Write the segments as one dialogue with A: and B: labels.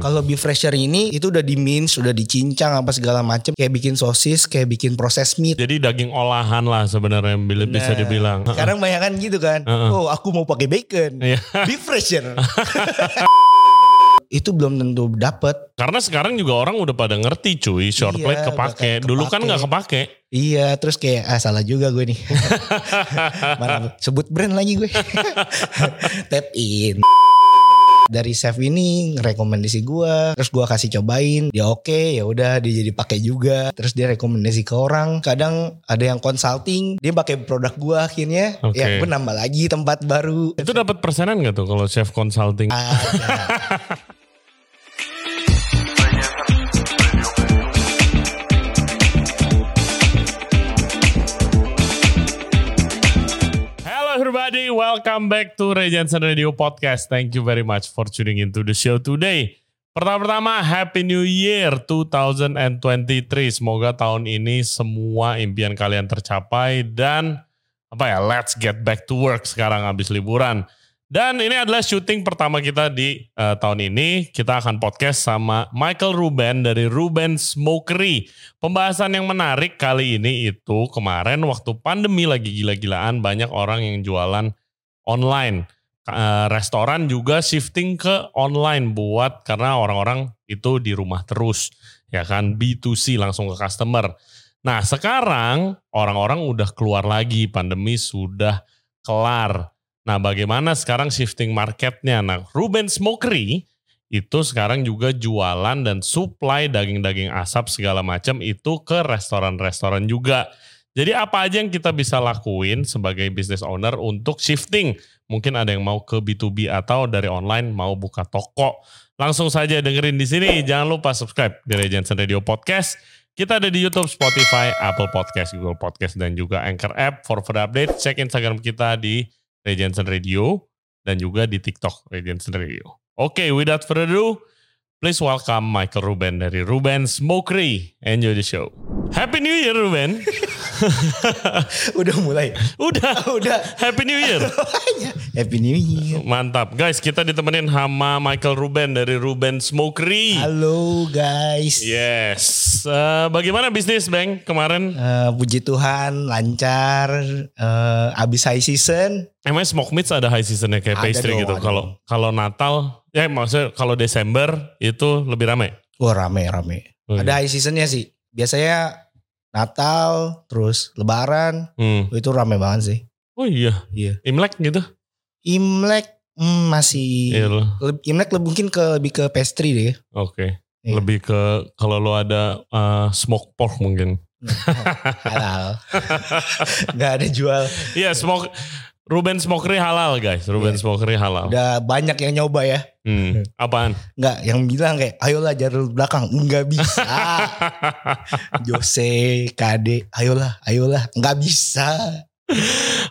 A: Kalau beef fresher ini itu udah di mince, udah dicincang apa segala macem. Kayak bikin sosis, kayak bikin proses meat.
B: Jadi daging olahan lah sebenarnya bila bisa
A: Nah,
B: dibilang.
A: Sekarang bayangan gitu kan. Oh, aku mau pakai bacon.
B: Iya.
A: Beef fresher. itu belum tentu dapet.
B: Karena sekarang juga orang udah pada ngerti cuy, short
A: Iya,
B: plate kepake.
A: bakal
B: Dulu kan
A: kepake.
B: nggak kepake.
A: Iya, terus kayak ah salah juga gue nih. Mana sebut brand lagi gue. Tap in. Dari chef ini rekomendasi gue, terus gue kasih cobain, dia oke, ya udah dia jadi pakai juga. Terus dia rekomendasi ke orang. Kadang ada yang consulting, dia pakai produk gue akhirnya,
B: Oke.
A: ya gue nambah lagi tempat baru.
B: Itu dapat persenan nggak tuh kalau chef consulting?
A: Ada.
B: Hello everybody, welcome back to Ray Jensen Radio Podcast. Thank you very much for tuning into the show today. Pertama-tama, Happy New Year 2023. Semoga tahun ini semua impian kalian tercapai dan apa ya, let's get back to work sekarang habis liburan. Dan ini adalah syuting pertama kita di eh, tahun ini. Kita akan podcast sama Michael Ruben dari Ruben Smokery. Pembahasan yang menarik kali ini itu kemarin waktu pandemi lagi gila-gilaan banyak orang yang jualan online. Eh, restoran juga shifting ke online buat karena orang-orang itu di rumah terus ya kan B2C langsung ke customer. Nah, sekarang orang-orang udah keluar lagi, pandemi sudah kelar. Nah, bagaimana sekarang shifting marketnya? Nah, Ruben Smokery itu sekarang juga jualan dan supply daging-daging asap segala macam itu ke restoran-restoran juga. Jadi apa aja yang kita bisa lakuin sebagai business owner untuk shifting? Mungkin ada yang mau ke B2B atau dari online mau buka toko. Langsung saja dengerin di sini. Jangan lupa subscribe di Regency Radio Podcast. Kita ada di YouTube, Spotify, Apple Podcast, Google Podcast, dan juga Anchor App. For further update, cek Instagram kita di Regency Radio dan juga di TikTok Regency Radio. Oke, without further ado, please welcome Michael Ruben dari Ruben Smokery. Enjoy the show. Happy New Year, Ruben.
A: udah mulai.
B: Udah,
A: Udah.
B: Happy New Year.
A: Happy New Year.
B: Mantap. Guys, kita ditemenin sama Michael Ruben dari Ruben Smokery.
A: Halo guys.
B: Iya. Yes. Eh, bagaimana bisnis, Bang, kemarin?
A: Eh, puji Tuhan lancar eh, abis high season
B: Emang smoke meats ada high seasonnya
A: Ada
B: kayak pastry
A: dong,
B: gitu.
A: ada.
B: Kalau kalau Natal, ya maksudnya kalau Desember itu lebih ramai.
A: wah rame rame
B: Oh,
A: ada
B: iya.
A: high seasonnya sih biasanya Natal terus Lebaran
B: Hmm.
A: itu rame banget sih
B: Oh iya.
A: Iya.
B: Imlek gitu.
A: Imlek hmm, masih
B: Iya loh.
A: Leb- Imlek lebih mungkin ke lebih ke pastry deh ya.
B: Oke.
A: Iya.
B: Lebih ke kalau lo ada eh, smoke pork mungkin.
A: halal nggak ada jual
B: Iya, smoke Ruben Smokery halal, guys.
A: Iya.
B: Ruben Smokery halal.
A: udah banyak yang nyoba ya
B: Hmm. Apaan?
A: nggak yang bilang kayak ayolah jalur belakang nggak bisa Jose KD ayolah ayolah nggak bisa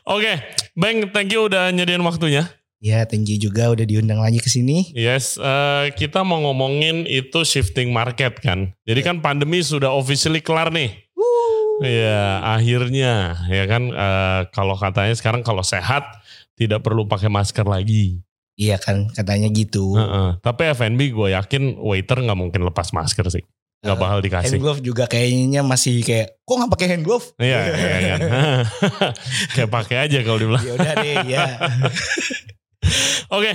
B: Oke, Bang, thank you udah nyediain waktunya.
A: Ya, thank you juga udah diundang lagi ke sini.
B: Yes, eh, kita mau ngomongin itu shifting market kan.
A: Iya.
B: Jadi kan pandemi sudah officially kelar nih. Iya, akhirnya ya kan eh, kalau katanya sekarang kalau sehat tidak perlu pakai masker lagi.
A: Iya kan, katanya gitu.
B: Heeh. Tapi FNB gue yakin waiter nggak mungkin lepas masker sih, nggak bakal
A: hand
B: dikasih.
A: glove juga kayaknya masih kayak, kok nggak pakai hand glove?
B: Iya, iya kan. kayak pakai aja kalau dibilang.
A: Ya udah deh, ya.
B: Oke,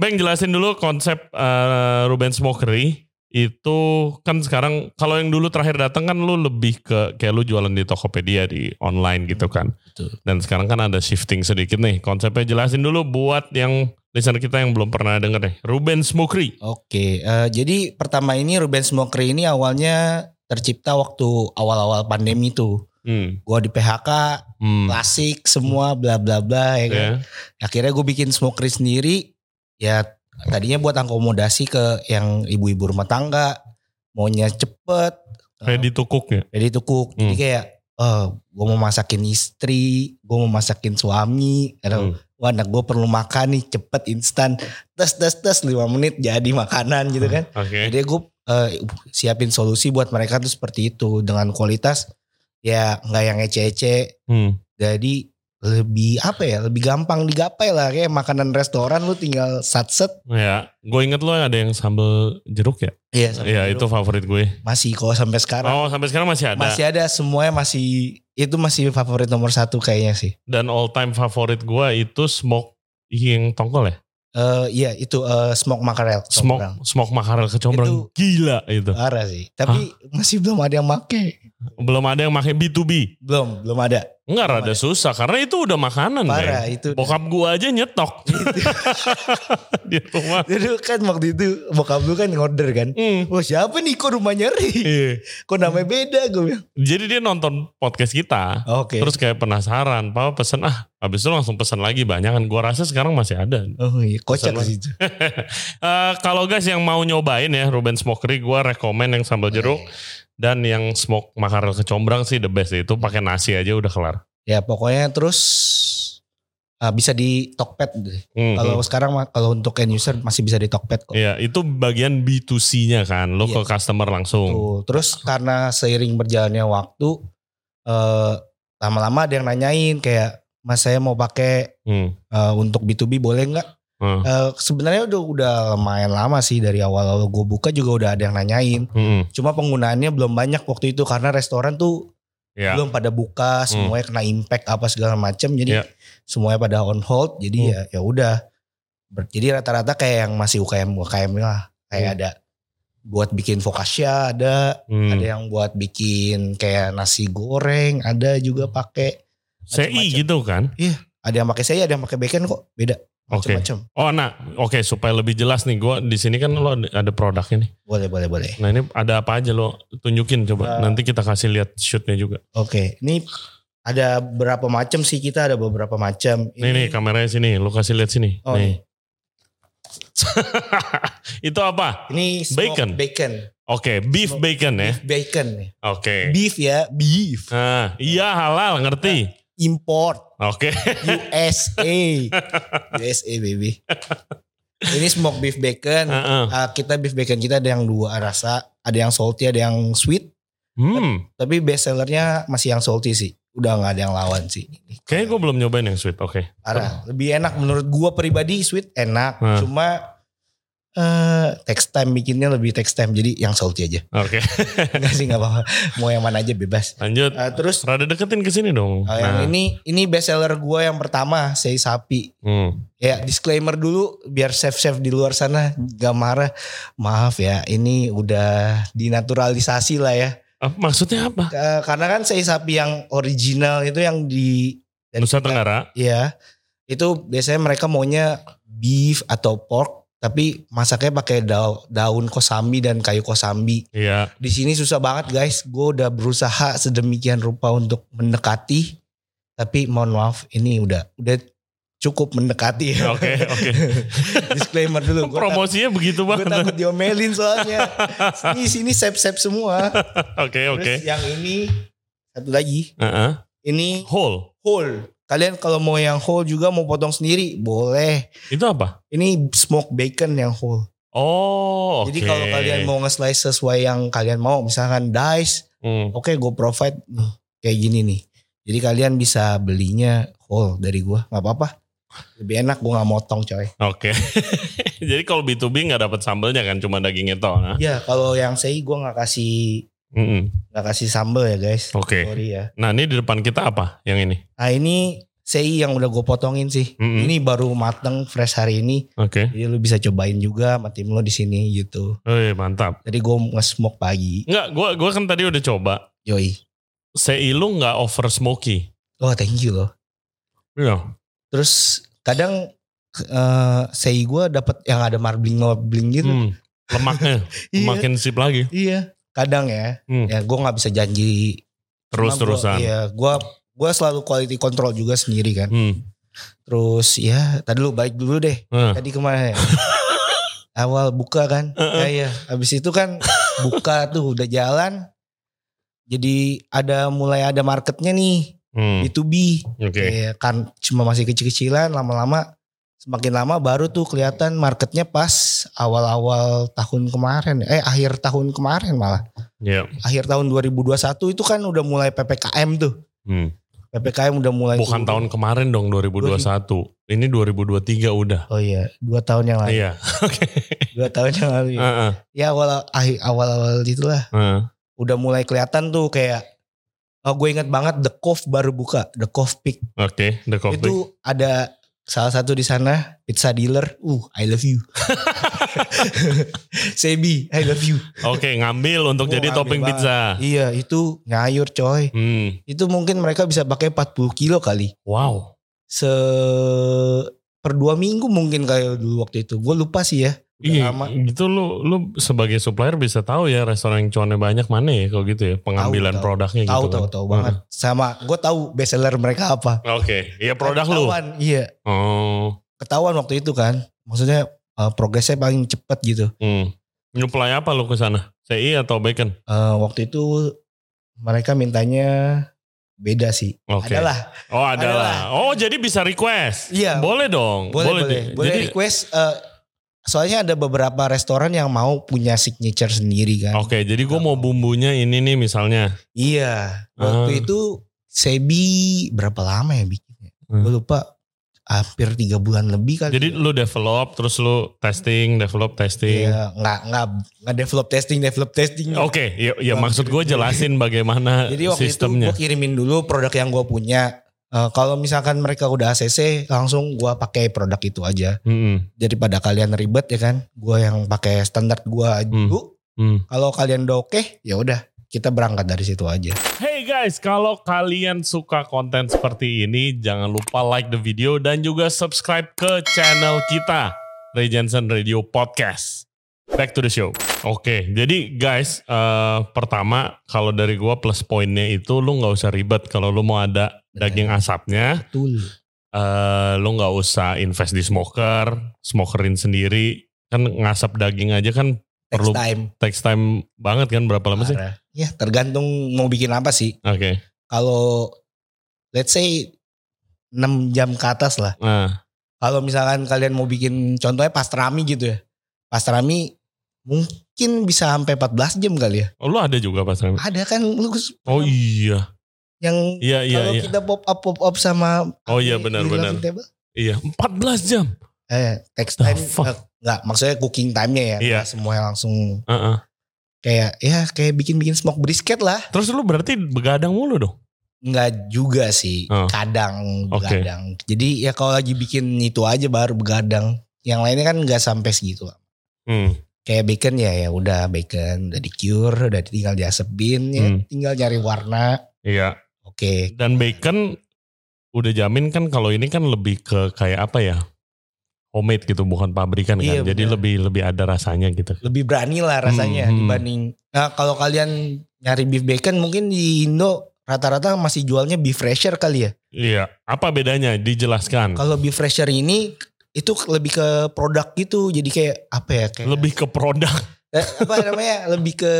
B: Bang jelasin dulu konsep eh, Ruben Smokery itu kan sekarang kalau yang dulu terakhir datang kan lu lebih ke kayak lu jualan di Tokopedia di online gitu kan.
A: Betul.
B: Dan sekarang kan ada shifting sedikit nih. Konsepnya jelasin dulu buat yang listener kita yang belum pernah denger nih. Ruben Smokery.
A: Oke, eh, jadi pertama ini Ruben Smoker ini awalnya tercipta waktu awal-awal pandemi tuh.
B: Hmm.
A: Gua di PHK,
B: Hmm.
A: klasik semua bla bla bla ya kan.
B: Ya.
A: Akhirnya gue bikin smokery sendiri. Ya tadinya buat akomodasi ke yang ibu-ibu rumah tangga, maunya cepet. eh,
B: Ready to cook ya.
A: Jadi itu cook. Jadi
B: Hmm.
A: kayak eh gue mau masakin istri, gue mau masakin suami. Atau,
B: Hmm.
A: Wah anak gue perlu makan nih cepet instan. Tes tes tes 5 menit jadi makanan gitu kan.
B: Oke.
A: Jadi gue eh, siapin solusi buat mereka tuh seperti itu. Dengan kualitas ya nggak yang ece-ece.
B: Hmm.
A: Jadi lebih apa ya lebih gampang digapai lah kayak makanan restoran lu tinggal satset
B: Ya, gue inget lo ada yang sambal jeruk ya?
A: Iya
B: Iya, itu favorit gue.
A: masih kalau sampai sekarang
B: Oh, sampai sekarang masih ada.
A: masih ada semuanya masih itu masih favorit nomor satu kayaknya sih
B: Dan all time favorit gue itu smoke yang tongkol ya?
A: Eh iya itu eh, smoke mackerel
B: Smoke,
A: Comprang.
B: smoke makarel kecombrang. Gila itu.
A: parah sih tapi masih belum ada yang make
B: Belum ada yang pakai B2B.
A: belum belum ada
B: Enggak,
A: Belum
B: rada
A: ada.
B: susah. Karena itu udah makanan.
A: parah
B: Bang.
A: itu
B: Bokap gue aja nyetok.
A: Gitu.
B: Di rumah.
A: Dulu kan waktu itu bokap lu kan order kan.
B: Hmm.
A: Wah siapa nih kok rumahnya Ri?
B: Iya.
A: Kok namanya beda gue bilang.
B: Jadi dia nonton podcast kita.
A: Oke.
B: Terus kayak penasaran, papa pesen ah, habis itu langsung pesen lagi banyak kan. Gua rasa sekarang masih ada.
A: Oh iya kocak
B: Sama.
A: sih itu.
B: Eh, kalau guys yang mau nyobain ya Ruben Smokery, gua rekomen yang sambal jeruk dan yang smoke makarel kecombrang sih the best itu pakai nasi aja udah kelar.
A: Ya pokoknya terus ah, bisa di Tokped. deh.
B: Hmm,
A: Kalau
B: hmm.
A: sekarang mah- kalau untuk end user masih bisa di Tokped kok.
B: Iya, itu bagian B2C-nya kan, lo
A: Iya.
B: ke customer langsung.
A: Tuh. Terus
B: Nah.
A: karena seiring berjalannya waktu eh, lama-lama ada yang nanyain kayak Mas saya mau pakai
B: Hmm.
A: eh, untuk B2B boleh nggak?
B: Hmm.
A: Eh, sebenarnya udah udah lumayan lama sih dari awal gue buka juga udah ada yang nanyain.
B: Hmm.
A: Cuma penggunaannya belum banyak waktu itu karena restoran tuh
B: Ya.
A: belum pada buka, semuanya kena impact apa segala macam. Jadi
B: Ya.
A: semuanya pada on hold. Jadi
B: Hmm.
A: ya ya udah. Ber- Jadi rata-rata kayak yang masih UKM UKM lah. Kayak ada buat bikin focaccia ada,
B: Hmm.
A: ada yang buat bikin kayak nasi goreng, ada juga
B: Hmm.
A: pakai
B: CI
A: macam-macam.
B: gitu kan.
A: ada yang pakai saya, ada yang pakai bacon kok, beda
B: Oke.
A: macam-macam.
B: Oh, nah, oke supaya lebih jelas nih gua di sini kan lo ada- ada produknya nih.
A: Boleh, boleh, boleh.
B: Nah, ini ada apa aja lo tunjukin coba.
A: Nah.
B: Nanti kita kasih lihat shootnya juga.
A: Oke, ini ada berapa macam sih kita ada beberapa macam.
B: Nih nih kameranya sini, lo kasih lihat sini.
A: Oh,
B: nih. Itu apa?
A: ini
B: Bacon.
A: smoked bacon.
B: Oke, beef bacon
A: Iya.
B: ya.
A: bacon nih.
B: Oke.
A: Beef ya, beef.
B: Ah, iya halal ngerti.
A: Import
B: Oke.
A: USA. USA baby. Ini smoked beef bacon.
B: Heeh.
A: Ah, kita beef bacon kita ada yang dua rasa, ada yang salty, ada yang sweet.
B: Hmm,
A: Tapi best sellernya masih yang salty sih. Udah nggak ada yang lawan sih.
B: kayaknya gue belum nyobain yang sweet. Oke.
A: Parah. Lebih enak menurut gua pribadi sweet enak.
B: Oh. Hmm.
A: Cuma eh text time bikinnya lebih text time jadi yang salty aja.
B: Oke.
A: Enggak sih nggak apa-apa. Mau yang mana aja bebas.
B: Lanjut.
A: Ah, terus
B: Rada deketin ke sini dong.
A: Oh, yang
B: Nah,
A: ini ini best seller gue yang pertama, Sei Sapi.
B: hmm.
A: Ya disclaimer dulu biar chef-chef di luar sana gak marah. Maaf ya, ini udah dinaturalisasi lah ya.
B: Ah, maksudnya apa?
A: Ke- Karena kan Sei Sapi yang original itu yang di dari
B: Nusa
A: kita-
B: Tenggara.
A: Iya. Itu biasanya mereka maunya beef atau pork tapi masaknya pakai dau- daun kosambi dan kayu kosambi.
B: Iya.
A: Di sini susah banget guys. Gue udah berusaha sedemikian rupa untuk mendekati, tapi mohon maaf ini udah udah cukup mendekati. ya.
B: Iya, Oke, oke.
A: Disclaimer dulu. Gue takut,
B: Promosinya begitu
A: gua
B: banget.
A: takut diomelin soalnya. Ini sini sep-sep semua.
B: Oke, oke.
A: Terus yang ini satu lagi.
B: Heeh.
A: Ini
B: Whole.
A: whole. Kalian kalau mau yang whole juga mau potong sendiri boleh.
B: Itu apa?
A: Ini smoked bacon yang whole.
B: Oh,
A: Jadi
B: oke.
A: kalau kalian mau nge-slice sesuai yang kalian mau, misalkan dice
B: Hmm.
A: oke gue provide nih, kayak gini nih jadi kalian bisa belinya whole dari gue nggak apa-apa lebih enak gue nggak motong coy
B: Oke. Jadi kalau B2B nggak dapat sambelnya kan cuma dagingnya toh. Nah.
A: ya kalau yang saya gue nggak kasih
B: Mm-mm.
A: nggak kasih sambel ya guys
B: Oke.
A: sorry ya
B: Nah, ini di depan kita apa? Yang ini.
A: nah ini sei yang udah gue potongin sih
B: Mm-mm.
A: ini baru mateng fresh hari ini
B: Oke.
A: jadi lu bisa cobain juga sama tim lo di sini gitu
B: Eh, mantap.
A: jadi gue nge-smoke pagi
B: Enggak, gua gua kan tadi udah coba.
A: yoi
B: CI lu nggak over smoky.
A: oh thank you loh
B: Iya.
A: terus kadang eh sei gue dapet yang ada marbling marbling gitu
B: Hmm. Lemaknya
A: Iya.
B: makin sip lagi.
A: Iya. Kadang ya.
B: Hmm.
A: Ya gue nggak bisa janji. Cuma
B: Terus-terusan.
A: gua- Iya. Gue gue selalu quality control juga sendiri kan.
B: Hmm.
A: Terus ya tadi lu balik dulu deh.
B: Nah.
A: Tadi kemana ya? Awal buka kan. Ya iya. Habis itu kan buka tuh udah jalan. Jadi ada mulai ada marketnya nih.
B: Hmm.
A: Iya. B2B.
B: Oke.
A: Ya, kan cuma masih kecil-kecilan lama-lama semakin lama baru tuh kelihatan marketnya pas awal-awal tahun kemarin eh akhir tahun kemarin malah
B: Iya.
A: akhir tahun 2021 itu kan udah mulai PPKM tuh.
B: Hmm.
A: PPKM udah mulai.
B: Bukan
A: turun.
B: tahun kemarin dong 2021. Ini 2023 udah.
A: Oh iya, dua tahun yang lalu.
B: Iya. Oke.
A: Dua tahun yang lalu. ya.
B: Iya. Heeh,
A: Ya awal awal awal itulah.
B: heeh.
A: Udah mulai kelihatan tuh kayak. Oh gue inget banget The Cove baru buka The Cove Peak.
B: Oke, the
A: Itu
B: coffee.
A: ada salah satu di sana pizza dealer. Uh, I love you. Sebi, I love you.
B: Oke, ngambil untuk
A: Gua
B: jadi
A: ngambil
B: topping
A: banget.
B: pizza.
A: Iya, itu ngayur coy.
B: Hmm.
A: Itu mungkin mereka bisa pakai 40 kilo kali.
B: Wow.
A: Se per dua minggu mungkin kayak dulu waktu itu. Gue lupa sih ya. Udah
B: Iya,
A: lama.
B: gitu lu lu sebagai supplier bisa tahu ya restoran yang cuannya banyak mana ya kalau gitu ya pengambilan
A: tahu.
B: produknya
A: Tahu tahu
B: gitu. kan.
A: tahu banget. Sama gue tahu best seller mereka apa.
B: Heeh. Oke, iya produk lu.
A: Ketahuan, Iya,
B: Oh.
A: ketahuan waktu itu kan. Maksudnya eh, progresnya paling cepet gitu.
B: Hmm. Nyuplai apa lu ke sana? CI atau bacon?
A: Eh, waktu itu mereka mintanya beda sih.
B: Oke.
A: Adalah.
B: Oh,
A: Adalah.
B: adalah. Oh, jadi bisa request.
A: Iya.
B: Boleh dong.
A: boleh boleh.
B: di-
A: Boleh
B: Jadi
A: request. eh, soalnya ada beberapa restoran yang mau punya signature sendiri kan.
B: Oke, jadi gue mau bumbunya ini nih misalnya.
A: Iya. Waktu
B: Ah.
A: itu Sebi berapa lama ya bikinnya?
B: Hmm.
A: Gue lupa. Hampir tiga bulan lebih kali.
B: Jadi lu develop terus lu testing, develop testing.
A: Iya, nggak nggak nggak develop testing develop testing.
B: Oke, ya, ya maksud gue jelasin bagaimana
A: Jadi waktu itu
B: sistemnya.
A: gue kirimin dulu produk yang gue punya. Eh, kalau misalkan mereka udah ACC, langsung gue pakai produk itu aja.
B: Mm-mm.
A: Daripada kalian ribet ya kan, gue yang pakai standar gue dulu.
B: Hmm.
A: Kalau kalian udah oke, ya udah kita berangkat dari situ aja.
B: Hey guys, kalau kalian suka konten seperti ini, jangan lupa like the video dan juga subscribe ke channel kita, Ray Jensen Radio Podcast. Back to the show. Oke, jadi guys, eh, pertama kalau dari gua plus poinnya itu lu nggak usah ribet kalau lu mau ada daging asapnya,
A: Betul.
B: eh, lu nggak usah invest di smoker, smokerin sendiri, kan ngasap daging aja kan
A: Next
B: Perlu-
A: time.
B: takes time banget kan berapa lama sih? Oke.
A: Parah. Ya tergantung mau bikin apa sih. Kalau let's say 6 jam ke atas lah.
B: Nah,
A: Kalau misalkan kalian mau bikin contohnya pastrami gitu ya. Pastrami mungkin bisa sampai 14 jam kali ya.
B: lu ada juga pas Rem?
A: Ada kan lu
B: Oh iya.
A: yang
B: Iya iya
A: kalau
B: iya.
A: kita pop up pop up sama
B: Oh iya,
A: apa,
B: benar,
A: di
B: benar.
A: coffee table?
B: Iya, 14 jam.
A: Eh, text
B: The
A: time
B: fuck?
A: eh, enggak maksudnya cooking time-nya ya.
B: Iya.
A: Nggak semuanya langsung
B: Heeh.
A: kayak ya kayak bikin-bikin smoke brisket lah.
B: Terus lu berarti begadang mulu dong.
A: Enggak juga sih,
B: Oh.
A: kadang
B: Oke.
A: begadang. Jadi ya kalau lagi bikin itu aja baru begadang. Yang lainnya kan enggak sampai segitu.
B: Hmm.
A: kayak bacon ya ya udah bacon udah di cure udah tinggal diasepin ya
B: Hmm.
A: tinggal nyari warna
B: Iya.
A: oke
B: Dan bacon udah jamin kan kalau ini kan lebih ke kayak apa ya? Homemade gitu bukan pabrikan kan.
A: Iya,
B: Jadi
A: benar.
B: lebih lebih ada rasanya gitu.
A: lebih berani lah rasanya
B: Hmm, hmm.
A: dibanding nah kalau kalian nyari beef bacon mungkin di Indo rata-rata masih jualnya beef fresher kali ya
B: Iya, apa bedanya? Dijelaskan.
A: kalau beef fresher ini itu lebih ke produk gitu jadi kayak apa ya kayak
B: Lebih ke produk.
A: eh, apa namanya lebih ke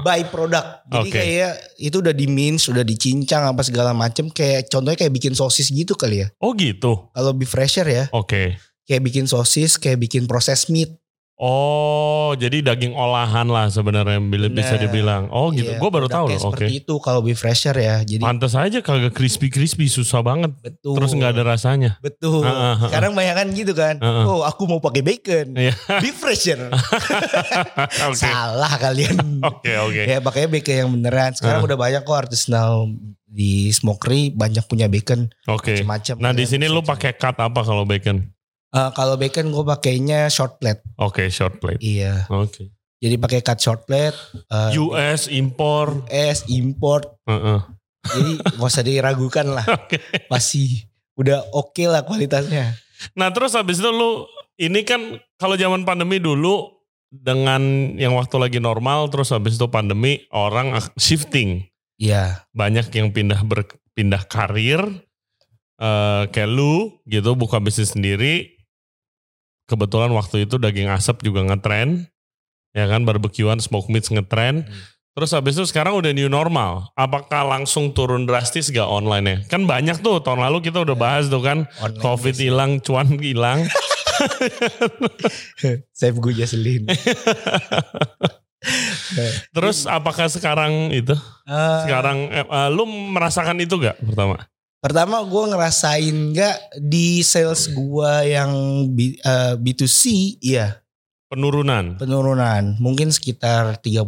A: by product jadi
B: Oke.
A: kayak itu udah di mince udah dicincang apa segala macem kayak contohnya kayak bikin sosis gitu kali ya
B: Oh gitu.
A: kalau beef fresher ya
B: Oke.
A: kayak bikin sosis, kayak bikin proses meat.
B: Oh, jadi daging olahan lah sebenarnya bila- bisa
A: Benar.
B: dibilang. Oh gitu.
A: Iya,
B: Gue baru tahu
A: produknya
B: loh. Oke.
A: Seperti itu kalau beef fresher ya. Jadi
B: Pantes aja kagak crispy-crispy susah banget.
A: betul.
B: Terus nggak ada rasanya.
A: Betul.
B: Ah, ah, ah, ah.
A: Sekarang banyak kan gitu kan.
B: Ah, ah.
A: Oh, aku mau pakai bacon.
B: Iya.
A: beef fresher.
B: Oke.
A: Salah kalian.
B: Oke, oke.
A: Ya pakainya bacon yang beneran. Sekarang
B: Ah.
A: udah banyak kok artisanal di smokery banyak punya bacon
B: Oke.
A: macam-macam.
B: Nah di
A: Ya,
B: sini lu
A: macam-macam.
B: pakai cut apa kalau bacon?
A: Eh, kalau bacon gue pakainya short plate.
B: Oke short plate.
A: Iya.
B: Oke.
A: Jadi pakai cut short plate. eh,
B: US impor.
A: US import
B: Heeh.
A: Jadi gak usah diragukan lah.
B: Oke.
A: Pasti udah oke lah kualitasnya.
B: Nah terus habis itu lu ini kan kalau zaman pandemi dulu dengan yang waktu lagi normal terus habis itu pandemi orang ak- shifting
A: Iya.
B: banyak yang pindah berpindah karir eh kayak lu gitu buka bisnis sendiri kebetulan waktu itu daging asap juga ngetren ya kan barbekyuan smoke meats ngetren
A: Hmm.
B: terus habis itu sekarang udah new normal apakah langsung turun drastis gak online ya kan banyak tuh tahun lalu kita
A: Iya.
B: udah bahas tuh kan
A: Online
B: covid hilang cuan hilang
A: Save Eh, gue Jaselin.
B: terus apakah sekarang itu
A: Eh,
B: sekarang eh, eh, lu merasakan eh, itu gak pertama
A: Pertama gue ngerasain nggak di sales gue yang B, eh, B2C iya
B: Penurunan.
A: penurunan mungkin sekitar 30%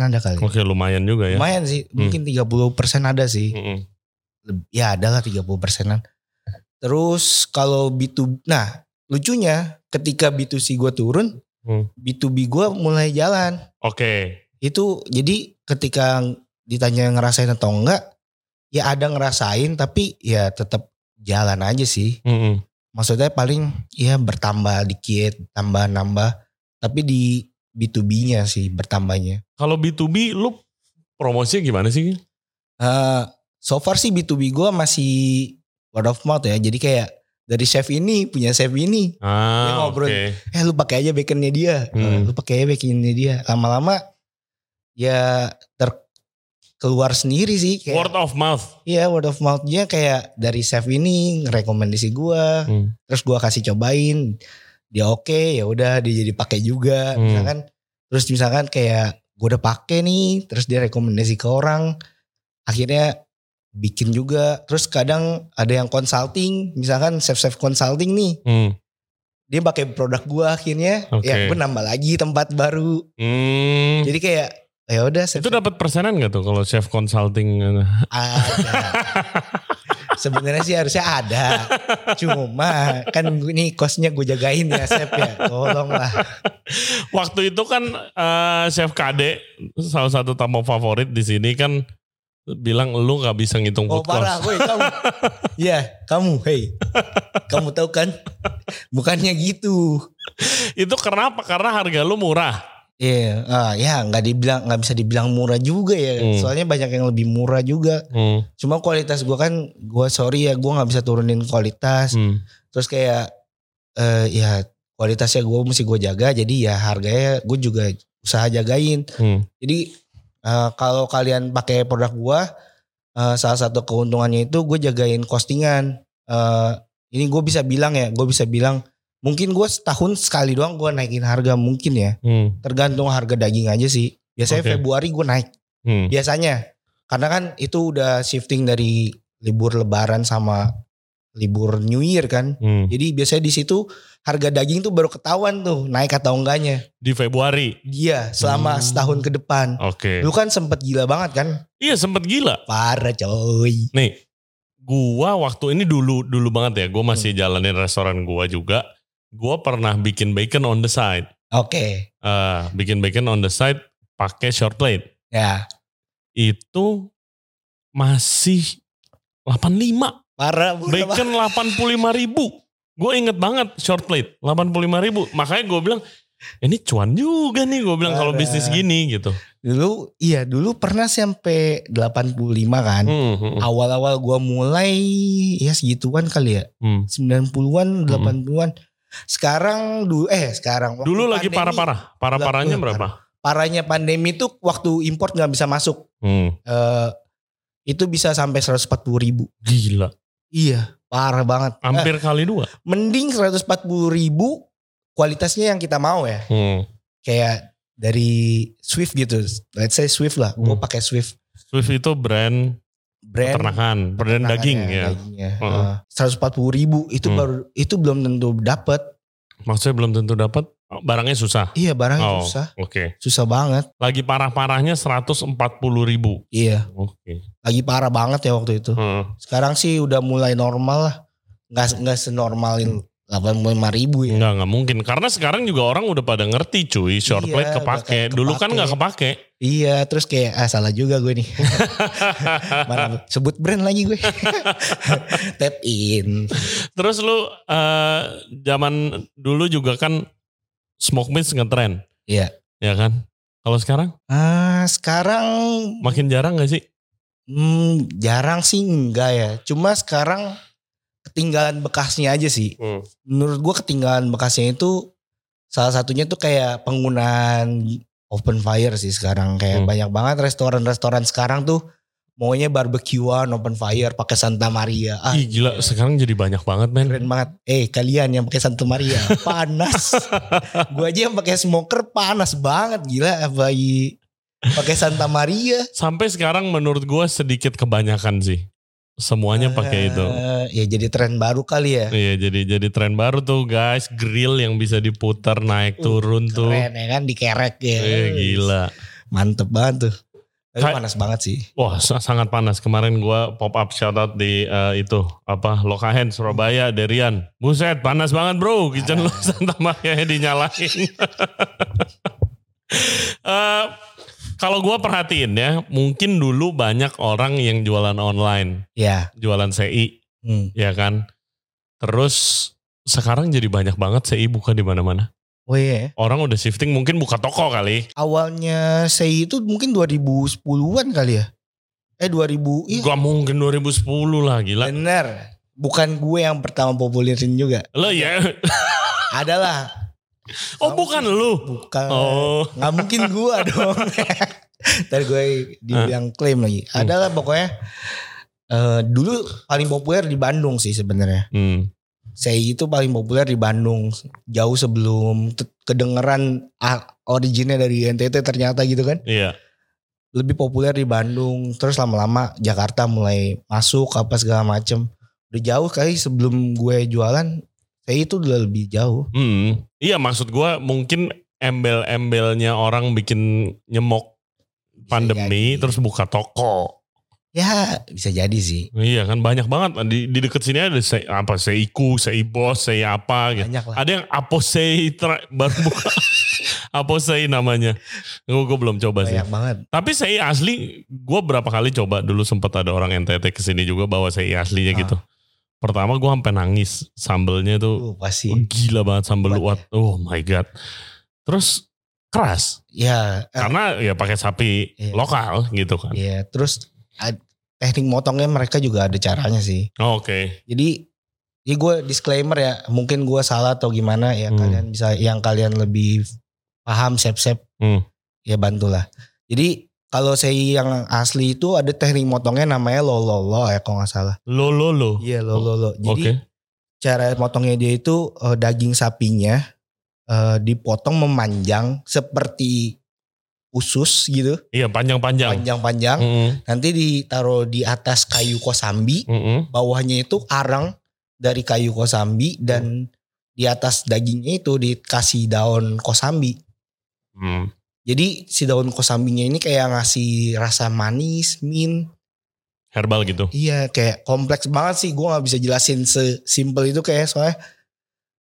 A: ada kali.
B: Oke lumayan juga ya.
A: Hmm. Lumayan sih,
B: Hmm.
A: mungkin 30% ada sih.
B: Mm-mm.
A: Leb- Ya adalah 30%an. Terus kalau B2 nah lucunya ketika B2C gue turun,
B: Hmm.
A: B2B gue mulai jalan.
B: Oke.
A: itu jadi ketika ditanya ngerasain atau enggak ya ada ngerasain tapi ya tetap jalan aja sih
B: Mm-mm.
A: maksudnya paling ya bertambah dikit tambah nambah tapi di B2B nya sih bertambahnya
B: Kalau B2B lu promosinya gimana sih?
A: Eh, so far sih B2B gue masih word of mouth ya jadi kayak dari chef ini punya chef ini Dia
B: Ah, oke.
A: ngobrol. eh lu pakai aja baconnya dia
B: Hmm.
A: lu pakai aja baconnya dia lama-lama ya ter keluar sendiri sih kayak
B: Word of mouth.
A: Iya word of mouth-nya kayak dari chef ini rekomendasi gua,
B: Hmm.
A: terus gua kasih cobain, dia oke ya udah dia jadi pakai juga,
B: Hmm.
A: misalkan terus misalkan kayak gua udah pakai nih, terus dia rekomendasi ke orang, akhirnya bikin juga, terus kadang ada yang consulting, misalkan chef-chef consulting nih,
B: Hmm.
A: dia pakai produk gua akhirnya,
B: Oke.
A: ya gua nambah lagi tempat baru,
B: Hmm.
A: jadi kayak ya udah chef-
B: Itu dapat persenan gak tuh kalau chef consulting?
A: Ada. Sebenarnya sih harusnya ada. Cuma kan gue- ini kosnya gue jagain ya Sep ya. Tolonglah.
B: Waktu itu kan eh, chef Kade salah satu tamu favorit di sini kan bilang lu nggak bisa ngitung
A: Oh
B: food cost.
A: parah woi kamu. Iya kamu hei. Kamu tahu kan bukannya gitu.
B: Itu kenapa? Karena harga lu murah.
A: Iya, ah, ya nggak dibilang nggak bisa dibilang murah juga ya.
B: Hmm.
A: Soalnya banyak yang lebih murah juga.
B: Hmm.
A: Cuma kualitas gue kan gue sorry ya gue nggak bisa turunin kualitas.
B: Hmm.
A: terus kayak eh ya kualitasnya gue mesti gue jaga jadi ya harganya gue juga usaha jagain
B: Hmm.
A: jadi eh, kalau kalian pakai produk gue eh, salah satu keuntungannya itu gue jagain costingan Eh, ini gue bisa bilang ya gue bisa bilang mungkin gue setahun sekali doang gue naikin harga mungkin ya
B: Hmm.
A: tergantung harga daging aja sih biasanya
B: Oke.
A: Februari gue naik
B: Hmm.
A: biasanya karena kan itu udah shifting dari libur Lebaran sama libur New Year kan
B: Hmm.
A: jadi biasanya di situ harga daging tuh baru ketahuan tuh naik atau enggaknya.
B: Di Februari.
A: Dia selama
B: Hmm.
A: setahun ke depan.
B: Oke.
A: Lu kan sempet gila banget kan?
B: Iya sempet gila.
A: Parah coy.
B: Nih, gua waktu ini dulu dulu banget ya, gua masih jalanin restoran gua juga. Gua pernah bikin bacon on the side.
A: Oke.
B: Eh, bikin bacon on the side pakai short plate.
A: Ya,
B: Itu masih 85.
A: parah murah banget.
B: Bacon 85 ribu. Gue inget banget short plate 85 ribu. Makanya gue bilang ini cuan juga nih gue bilang kalau
A: Parah.
B: bisnis gini gitu.
A: Dulu iya, dulu pernah sampai 85 kan.
B: Hmm, hmm,
A: Awal-awal gua mulai ya segituan kali ya.
B: hmm.
A: 90-an, 80-an. Sekarang dulu eh sekarang waktu
B: Dulu lagi
A: pandemi,
B: parah-parah. Parah-parahnya
A: Lah,
B: berapa?
A: Parahnya pandemi tuh waktu import nggak bisa masuk.
B: Hmm.
A: eh itu bisa sampai 140 ribu.
B: Gila.
A: Iya, parah banget. Eh,
B: Hampir kali dua.
A: mending 140 ribu kualitasnya yang kita mau ya.
B: Hmm.
A: Kayak dari Swift gitu. Let's say Swift lah. Gue
B: Hmm.
A: pakai Swift
B: Swift itu brand
A: brand.
B: peternakan, brand
A: peternakan
B: daging ya.
A: dagingnya.
B: Heeh.
A: Eh, 140 ribu itu
B: Hmm.
A: baru itu belum tentu dapat.
B: Maksudnya belum tentu dapat barangnya susah.
A: Iya barangnya
B: Oh,
A: susah,
B: Oke.
A: susah banget.
B: Lagi parah-parahnya 140 ribu.
A: Iya,
B: Oke. Hmm.
A: lagi parah banget ya waktu itu.
B: Heeh.
A: Sekarang sih udah mulai normal lah. Nggak nggak senormalin 85 ribu ya.
B: Enggak, enggak mungkin. Karena sekarang juga orang udah pada ngerti cuy. Short
A: Iya,
B: plate
A: udah
B: kepake.
A: kayak
B: Dulu
A: kepake.
B: kan enggak kepake.
A: Iya, terus kayak ah salah juga gue nih. Mana sebut brand lagi gue. Tap in.
B: Terus lu eh, zaman dulu juga kan smoke meats ngetren.
A: Iya.
B: Ya kan? Kalau sekarang
A: Ah, sekarang
B: makin jarang gak sih?
A: hmm, jarang sih enggak ya. Cuma sekarang ketinggalan bekasnya aja sih. Menurut gue ketinggalan bekasnya itu salah satunya tuh kayak penggunaan open fire sih sekarang kayak
B: Hmm.
A: banyak banget restoran-restoran sekarang tuh maunya barbekyuan open fire pakai Santa Maria. Ah,
B: Ih gila, sekarang jadi banyak banget men.
A: keren banget. Eh kalian yang pakai Santa Maria panas. gua aja yang pakai smoker panas banget gila bayi pakai Santa Maria.
B: Sampai sekarang menurut gua sedikit kebanyakan sih. semuanya pakai itu.
A: Eh, ya jadi tren baru kali ya.
B: Iya, jadi jadi tren baru tuh guys, grill yang bisa diputar naik
A: Uh,
B: turun tuh.
A: Keren ya kan dikerek ya.
B: Eh, gila.
A: Mantep banget tuh. Tapi
B: Kayak-
A: panas banget sih.
B: Wah, sa- sangat panas. Kemarin gua pop up shout out di eh, itu apa Lokahen Surabaya Derian. Buset, panas banget, Bro. Kitchen
A: Ah.
B: lu Santa Maria dinyalain. Eh, kalau gua perhatiin ya, mungkin dulu banyak orang yang jualan online,
A: Ya.
B: jualan CI.
A: Hmm.
B: ya kan. Terus sekarang jadi banyak banget CI buka di mana-mana.
A: Oh iya. ya.
B: Orang udah shifting mungkin buka toko kali.
A: Awalnya saya itu mungkin 2010-an kali ya. Eh 2000. Iya.
B: Gak mungkin 2010 lah gila.
A: Bener. Bukan gue yang pertama populerin juga.
B: Lo ya.
A: Adalah.
B: Oh bukan lu.
A: Bukan.
B: Oh.
A: Nggak mungkin gua dong. Ntar gue
B: Ah.
A: dibilang klaim lagi. Adalah pokoknya eh, dulu paling populer di Bandung sih sebenarnya.
B: Hmm.
A: Saya itu paling populer di Bandung jauh sebelum te- kedengeran ah, originnya dari NTT ternyata gitu kan.
B: Iya.
A: Lebih populer di Bandung, terus lama-lama Jakarta mulai masuk apa segala macem. Udah jauh kali sebelum gue jualan, saya itu udah lebih jauh.
B: Hmm. Iya maksud gua mungkin embel-embelnya orang bikin nyemok pandemi
A: jadi.
B: terus buka toko.
A: Ya bisa jadi sih.
B: Iya kan banyak banget di di dekat sini ada CI apa CIku, CI Bos, CI apa gitu.
A: Banyak lah.
B: Ada yang aposei tra- baru buka. aposei namanya. Gue belum coba sih.
A: Banyak banget.
B: Tapi sei asli gue berapa kali coba dulu sempat ada orang NTT kesini juga bawa sei aslinya
A: Ah.
B: gitu. Pertama gue sampai nangis sambelnya tuh
A: Tuh pasti.
B: gila banget sambel
A: Kuat
B: luwak. Oh my god. Terus keras
A: Ya, eh,
B: karena ya pakai sapi
A: Iya.
B: lokal gitu kan.
A: ya terus ad- teknik motongnya mereka juga ada caranya sih.
B: Oh, Oke.
A: Jadi ya gue disclaimer ya, mungkin gue salah atau gimana ya
B: Hmm.
A: kalian bisa yang kalian lebih paham sep-sep
B: Hmm.
A: ya bantulah. Jadi kalau saya yang asli itu ada teknik motongnya namanya lololo ya kalau nggak salah.
B: Lo lo lo.
A: Iya lololo. Jadi
B: Oke.
A: cara motongnya dia itu eh, daging sapinya eh, dipotong memanjang seperti usus gitu
B: Iya panjang-panjang.
A: panjang-panjang
B: Mm-mm.
A: nanti ditaruh di atas kayu kosambi
B: Mm-mm.
A: bawahnya itu arang dari kayu kosambi dan di atas dagingnya itu dikasih daun kosambi
B: Hmm.
A: jadi si daun kosambinya ini kayak ngasih rasa manis min
B: Herbal gitu.
A: iya kayak kompleks banget sih gua nggak bisa jelasin sesimpel itu kayak soalnya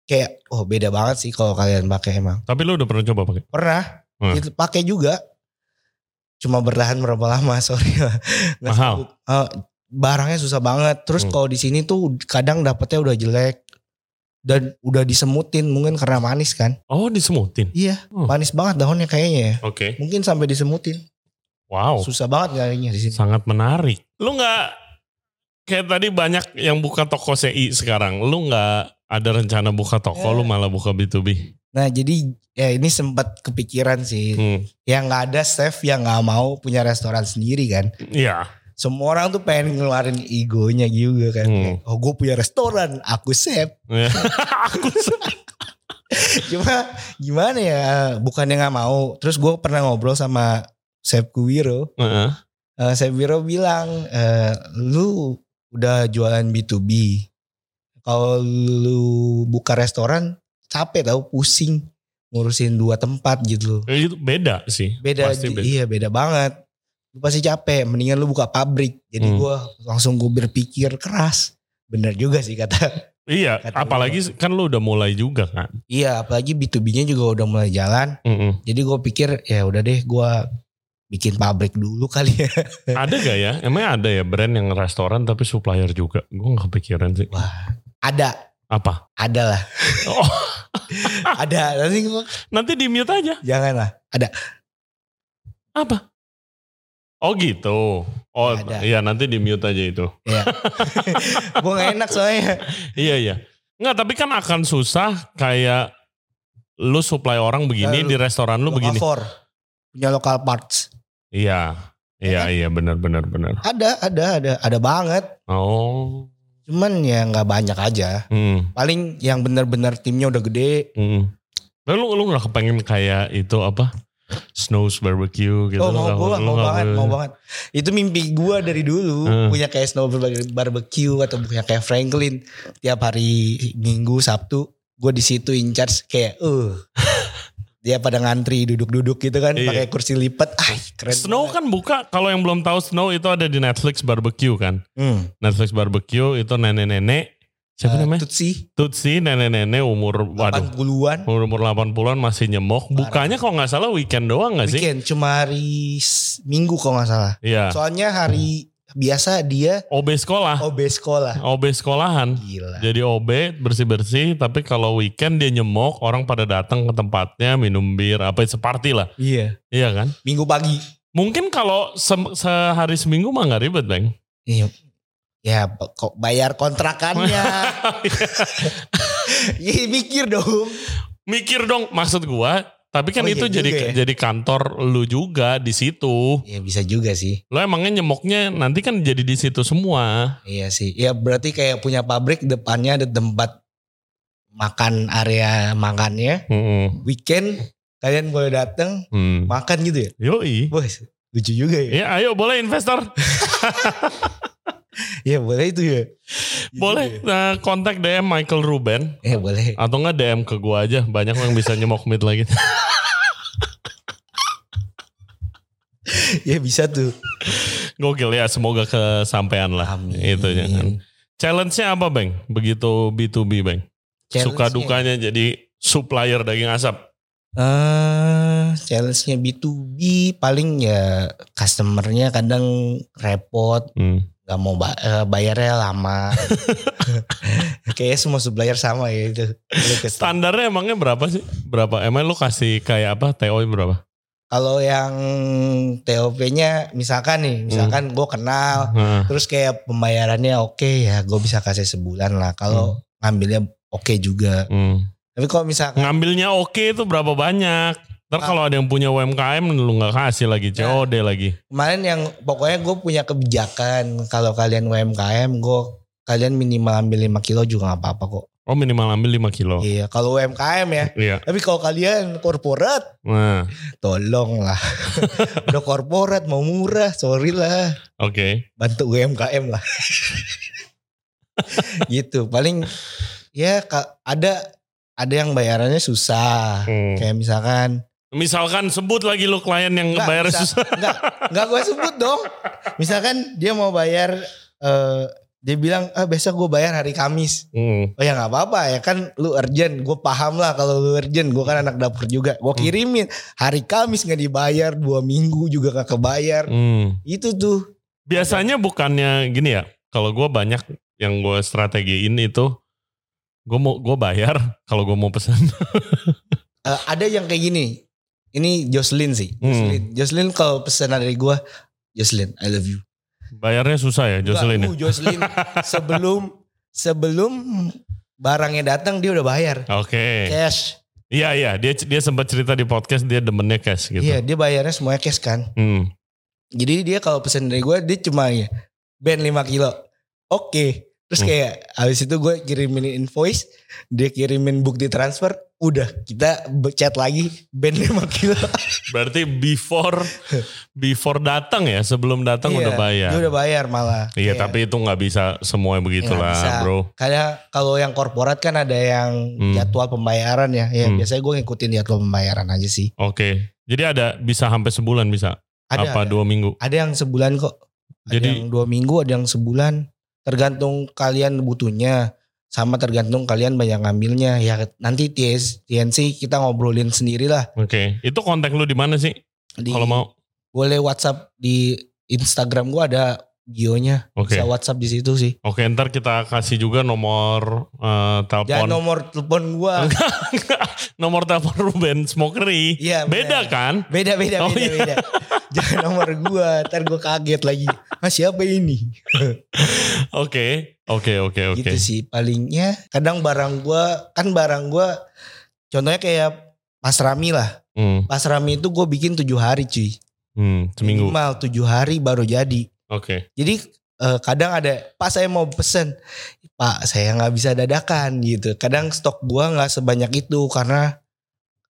A: kayak oh beda banget sih kalau kalian pakai emang
B: Tapi lu udah pernah coba pakai?
A: pernah
B: Hmm.
A: itu pakai juga cuma bertahan berapa lama sorry Nggak
B: Mahal.
A: sanggup. Eh, barangnya susah banget terus
B: Hmm.
A: kalau di sini tuh kadang dapetnya udah jelek dan udah disemutin mungkin karena manis kan
B: Oh disemutin. Hmm.
A: manis banget daunnya kayaknya ya
B: Oke.
A: mungkin sampai disemutin
B: Wow.
A: susah banget nyarinya di sini
B: Sangat menarik. Lu nggak kayak tadi banyak yang buka toko CI sekarang. Lu nggak ada rencana buka toko,
A: Eh.
B: lu malah buka B2B.
A: nah jadi ya ini sempat kepikiran sih
B: Hmm.
A: yang nggak ada chef yang nggak mau punya restoran sendiri kan
B: Iya.
A: semua orang tuh pengen ngeluarin egonya juga kan
B: Hmm.
A: Kayak, oh gue punya restoran aku chef
B: Iya. Aku se-
A: Cuma gimana ya bukannya nggak mau. Terus gue pernah ngobrol sama Sep Kuwiro.
B: Heeh.
A: Eh Sep Wiro bilang eh, lu udah jualan B2B. Kalau lu buka restoran capek tau pusing ngurusin dua tempat gitu.
B: Ya, itu beda sih.
A: Beda,
B: Pasti beda.
A: iya beda banget. Lu pasti capek. Mendingan lu buka pabrik. Jadi
B: Hmm.
A: gua langsung gue berpikir keras. Bener juga sih kata.
B: Iya.
A: Kata
B: Apalagi kan lu udah mulai juga kan.
A: Iya apalagi B2B-nya juga udah mulai jalan.
B: Mm-mm.
A: Jadi gue pikir ya udah deh gue bikin pabrik dulu kali ya.
B: Ada gak ya? Emangnya ada ya brand yang restoran tapi supplier juga? Gue gak kepikiran sih.
A: Ada,
B: Apa?
A: ada lah.
B: Oh,
A: Ada, nanti gua,
B: nanti di mute aja.
A: jangan lah. Ada,
B: Apa? Oh gitu. Oh
A: Ada.
B: iya nanti di mute aja itu.
A: ya. gue gak enak soalnya.
B: Iya iya. Enggak, tapi kan akan susah kayak lu supply orang begini
A: Lalu,
B: di restoran lu begini.
A: Lokavor, punya local parts.
B: Iya. Iya
A: kan?
B: iya benar benar benar.
A: Ada, ada, ada, ada banget.
B: Oh.
A: Cuman ya nggak banyak aja.
B: Hmm.
A: Paling yang benar-benar timnya udah gede.
B: hmm. Lalu lu nggak kepengen kayak itu apa? Snow's Barbecue gitu.
A: oh
B: Lu
A: mau
B: nggak-
A: gua
B: lu
A: mau
B: nggak
A: banget
B: boleh.
A: mau banget itu mimpi gua dari dulu
B: Hmm.
A: punya kayak snow Bar- barbecue atau punya kayak Franklin tiap hari Minggu Sabtu gua di situ in charge kayak eh dia pada ngantri duduk-duduk gitu kan
B: Iya.
A: pakai kursi lipat ah keren
B: Snow kan buka kalau yang belum tahu Snow itu ada di Netflix Barbecue kan.
A: hmm.
B: Netflix Barbecue itu nenek-nenek siapa
A: Eh,
B: namanya?
A: Tutsi
B: Tutsi nenek-nenek umur waduh
A: 80-an
B: umur umur 80-an masih nyemok. Bukanya kalau nggak salah weekend doang nggak sih?
A: weekend cuma hari S- Minggu kalau nggak salah
B: Iya.
A: soalnya hari biasa dia
B: OB sekolah,
A: OB sekolah
B: OB sekolahan.
A: gila
B: Jadi OB bersih-bersih, tapi kalau weekend dia nyemok, orang pada datang ke tempatnya minum bir, apa separti lah.
A: iya
B: Iya kan?
A: Minggu pagi
B: Mungkin kalau se- sehari seminggu mah nggak ribet, Bang.
A: Iya. Ya kok bayar kontrakannya. Iya mikir dong.
B: Mikir dong, maksud gua. Tapi kan
A: Oh iya
B: itu jadi
A: juga ya.
B: jadi kantor lu juga di situ.
A: Ya bisa juga sih.
B: Lo emangnya nyemoknya nanti kan jadi di situ semua.
A: Iya sih. Ya berarti kayak punya pabrik depannya ada tempat makan area makannya.
B: Mm-mm.
A: Weekend kalian boleh datang
B: Hmm.
A: makan gitu ya.
B: Yoi.
A: Bos, lucu juga ya.
B: Ya ayo boleh investor,
A: Iya boleh itu ya. Gitu
B: boleh eh, kontak DM Michael Ruben
A: Ya Ya, boleh.
B: atau enggak DM ke gua aja. Banyak yang bisa nyemok mid lagi.
A: Ya bisa tuh.
B: Gokil ya, semoga kesampaian lah.
A: Amin.
B: Nah, Itu jangan. Challenge-nya apa, Bang? Begitu B2B, Bang.
A: Challenge-nya?
B: Suka dukanya jadi supplier daging asap.
A: eh challenge-nya B2B paling ya customernya kadang repot
B: Hmm.
A: nggak mau ba- eh, bayarnya lama. Kayaknya semua supplier sama ya itu. Lu ke-
B: Standarnya emangnya berapa sih? Berapa? Emang lu kasih kayak apa? TO berapa?
A: Kalau yang TOP-nya misalkan nih, misalkan gue kenal,
B: Heeh.
A: terus kayak pembayarannya oke ya, gue bisa kasih sebulan lah. Kalau ngambilnya oke juga.
B: Hmm.
A: Tapi kalau misalkan
B: Ngambilnya oke itu berapa banyak?
A: Ah.
B: Ntar kalau ada yang punya UMKM lu nggak kasih lagi
A: Ya.
B: COD lagi.
A: kemarin yang pokoknya gue punya kebijakan kalau kalian UMKM, gue kalian minimal ambil 5 kilo juga nggak apa-apa kok.
B: Oh minimal ambil 5 kilo.
A: Iya, kalau UMKM ya.
B: Iya.
A: Tapi kalau kalian korporat
B: Nah,
A: tolong lah udah korporat mau murah sorry lah
B: oke.
A: bantu UMKM lah gitu paling ya ka- ada ada yang bayarannya susah
B: Hmm.
A: kayak misalkan
B: Misalkan sebut lagi lu klien yang
A: Nggak,
B: bayar
A: misal-
B: susah.
A: nggak nggak gue sebut dong misalkan dia mau bayar eh, dia bilang ah besok gue bayar hari Kamis
B: Hmm.
A: oh ya nggak apa-apa ya kan lu urgent gue paham lah kalau lu urgent gue kan anak dapur juga
B: Hmm.
A: gue kirimin hari Kamis nggak dibayar dua minggu juga nggak kebayar
B: Hmm.
A: itu tuh
B: Biasanya bukannya gini ya, kalau gue banyak yang gue strategiin itu, gue mau gue bayar kalau gue mau pesan.
A: eh, ada yang kayak gini ini Jocelyn sih
B: Hmm.
A: Jocelyn Jocelyn kalau pesanan dari gua Jocelyn I love you
B: Bayarnya susah ya Jocelyn
A: Enggak,
B: ya?
A: uh, Jocelyn sebelum sebelum barangnya datang dia udah bayar
B: Oke.
A: cash
B: Iya iya, dia dia sempat cerita di podcast dia demennya cash gitu.
A: iya dia bayarnya semuanya cash kan
B: Hmm.
A: jadi dia kalau pesan dari gua dia cuma ya band 5 kilo oke terus
B: Hmm.
A: kayak habis itu gue kirimin invoice dia kirimin bukti transfer udah kita be- chat lagi band 5 kilo
B: Berarti before before datang ya, sebelum datang
A: Iya,
B: udah bayar.
A: dia udah bayar malah
B: Iya,
A: Kayak-
B: tapi itu nggak bisa semuanya begitulah,
A: Nggak bisa.
B: bro.
A: Karena kalau yang korporat kan ada yang
B: Hmm.
A: jadwal pembayaran ya. Ya
B: Hmm.
A: biasanya gue ngikutin jadwal pembayaran aja sih.
B: Oke. Jadi ada bisa sampai sebulan bisa,
A: Ada
B: apa
A: ada,
B: dua minggu.
A: ada yang sebulan kok. Ada
B: Jadi-
A: yang dua minggu, ada yang sebulan. Tergantung kalian butuhnya, sama tergantung kalian banyak ngambilnya. Ya nanti TS, TNC kita ngobrolin sendirilah.
B: Oke. Itu kontak lu di mana sih?
A: Di,
B: Kalau mau.
A: boleh WhatsApp di Instagram gue ada bionya.
B: Oke.
A: Bisa WhatsApp di situ sih.
B: Oke ntar kita kasih juga nomor eh,
A: Jangan
B: telepon
A: nomor telepon gue.
B: nomor telepon Ruben Smokery.
A: Iya. bener.
B: Beda kan?
A: Beda beda
B: Oh,
A: beda beda.
B: iya.
A: Jangan nomor gua, ntar gua kaget lagi. Mas siapa ini?
B: Oke, oke, oke, oke.
A: Gitu sih palingnya. Kadang barang gua kan barang gua contohnya kayak pasrami lah.
B: Hmm,
A: Pasrami itu gua bikin tujuh hari cuy.
B: hmm, seminggu. Oke.
A: Minimal tujuh hari baru jadi. Jadi eh, kadang ada pas saya mau pesen, Pak saya nggak bisa dadakan gitu. Kadang stok gua nggak sebanyak itu karena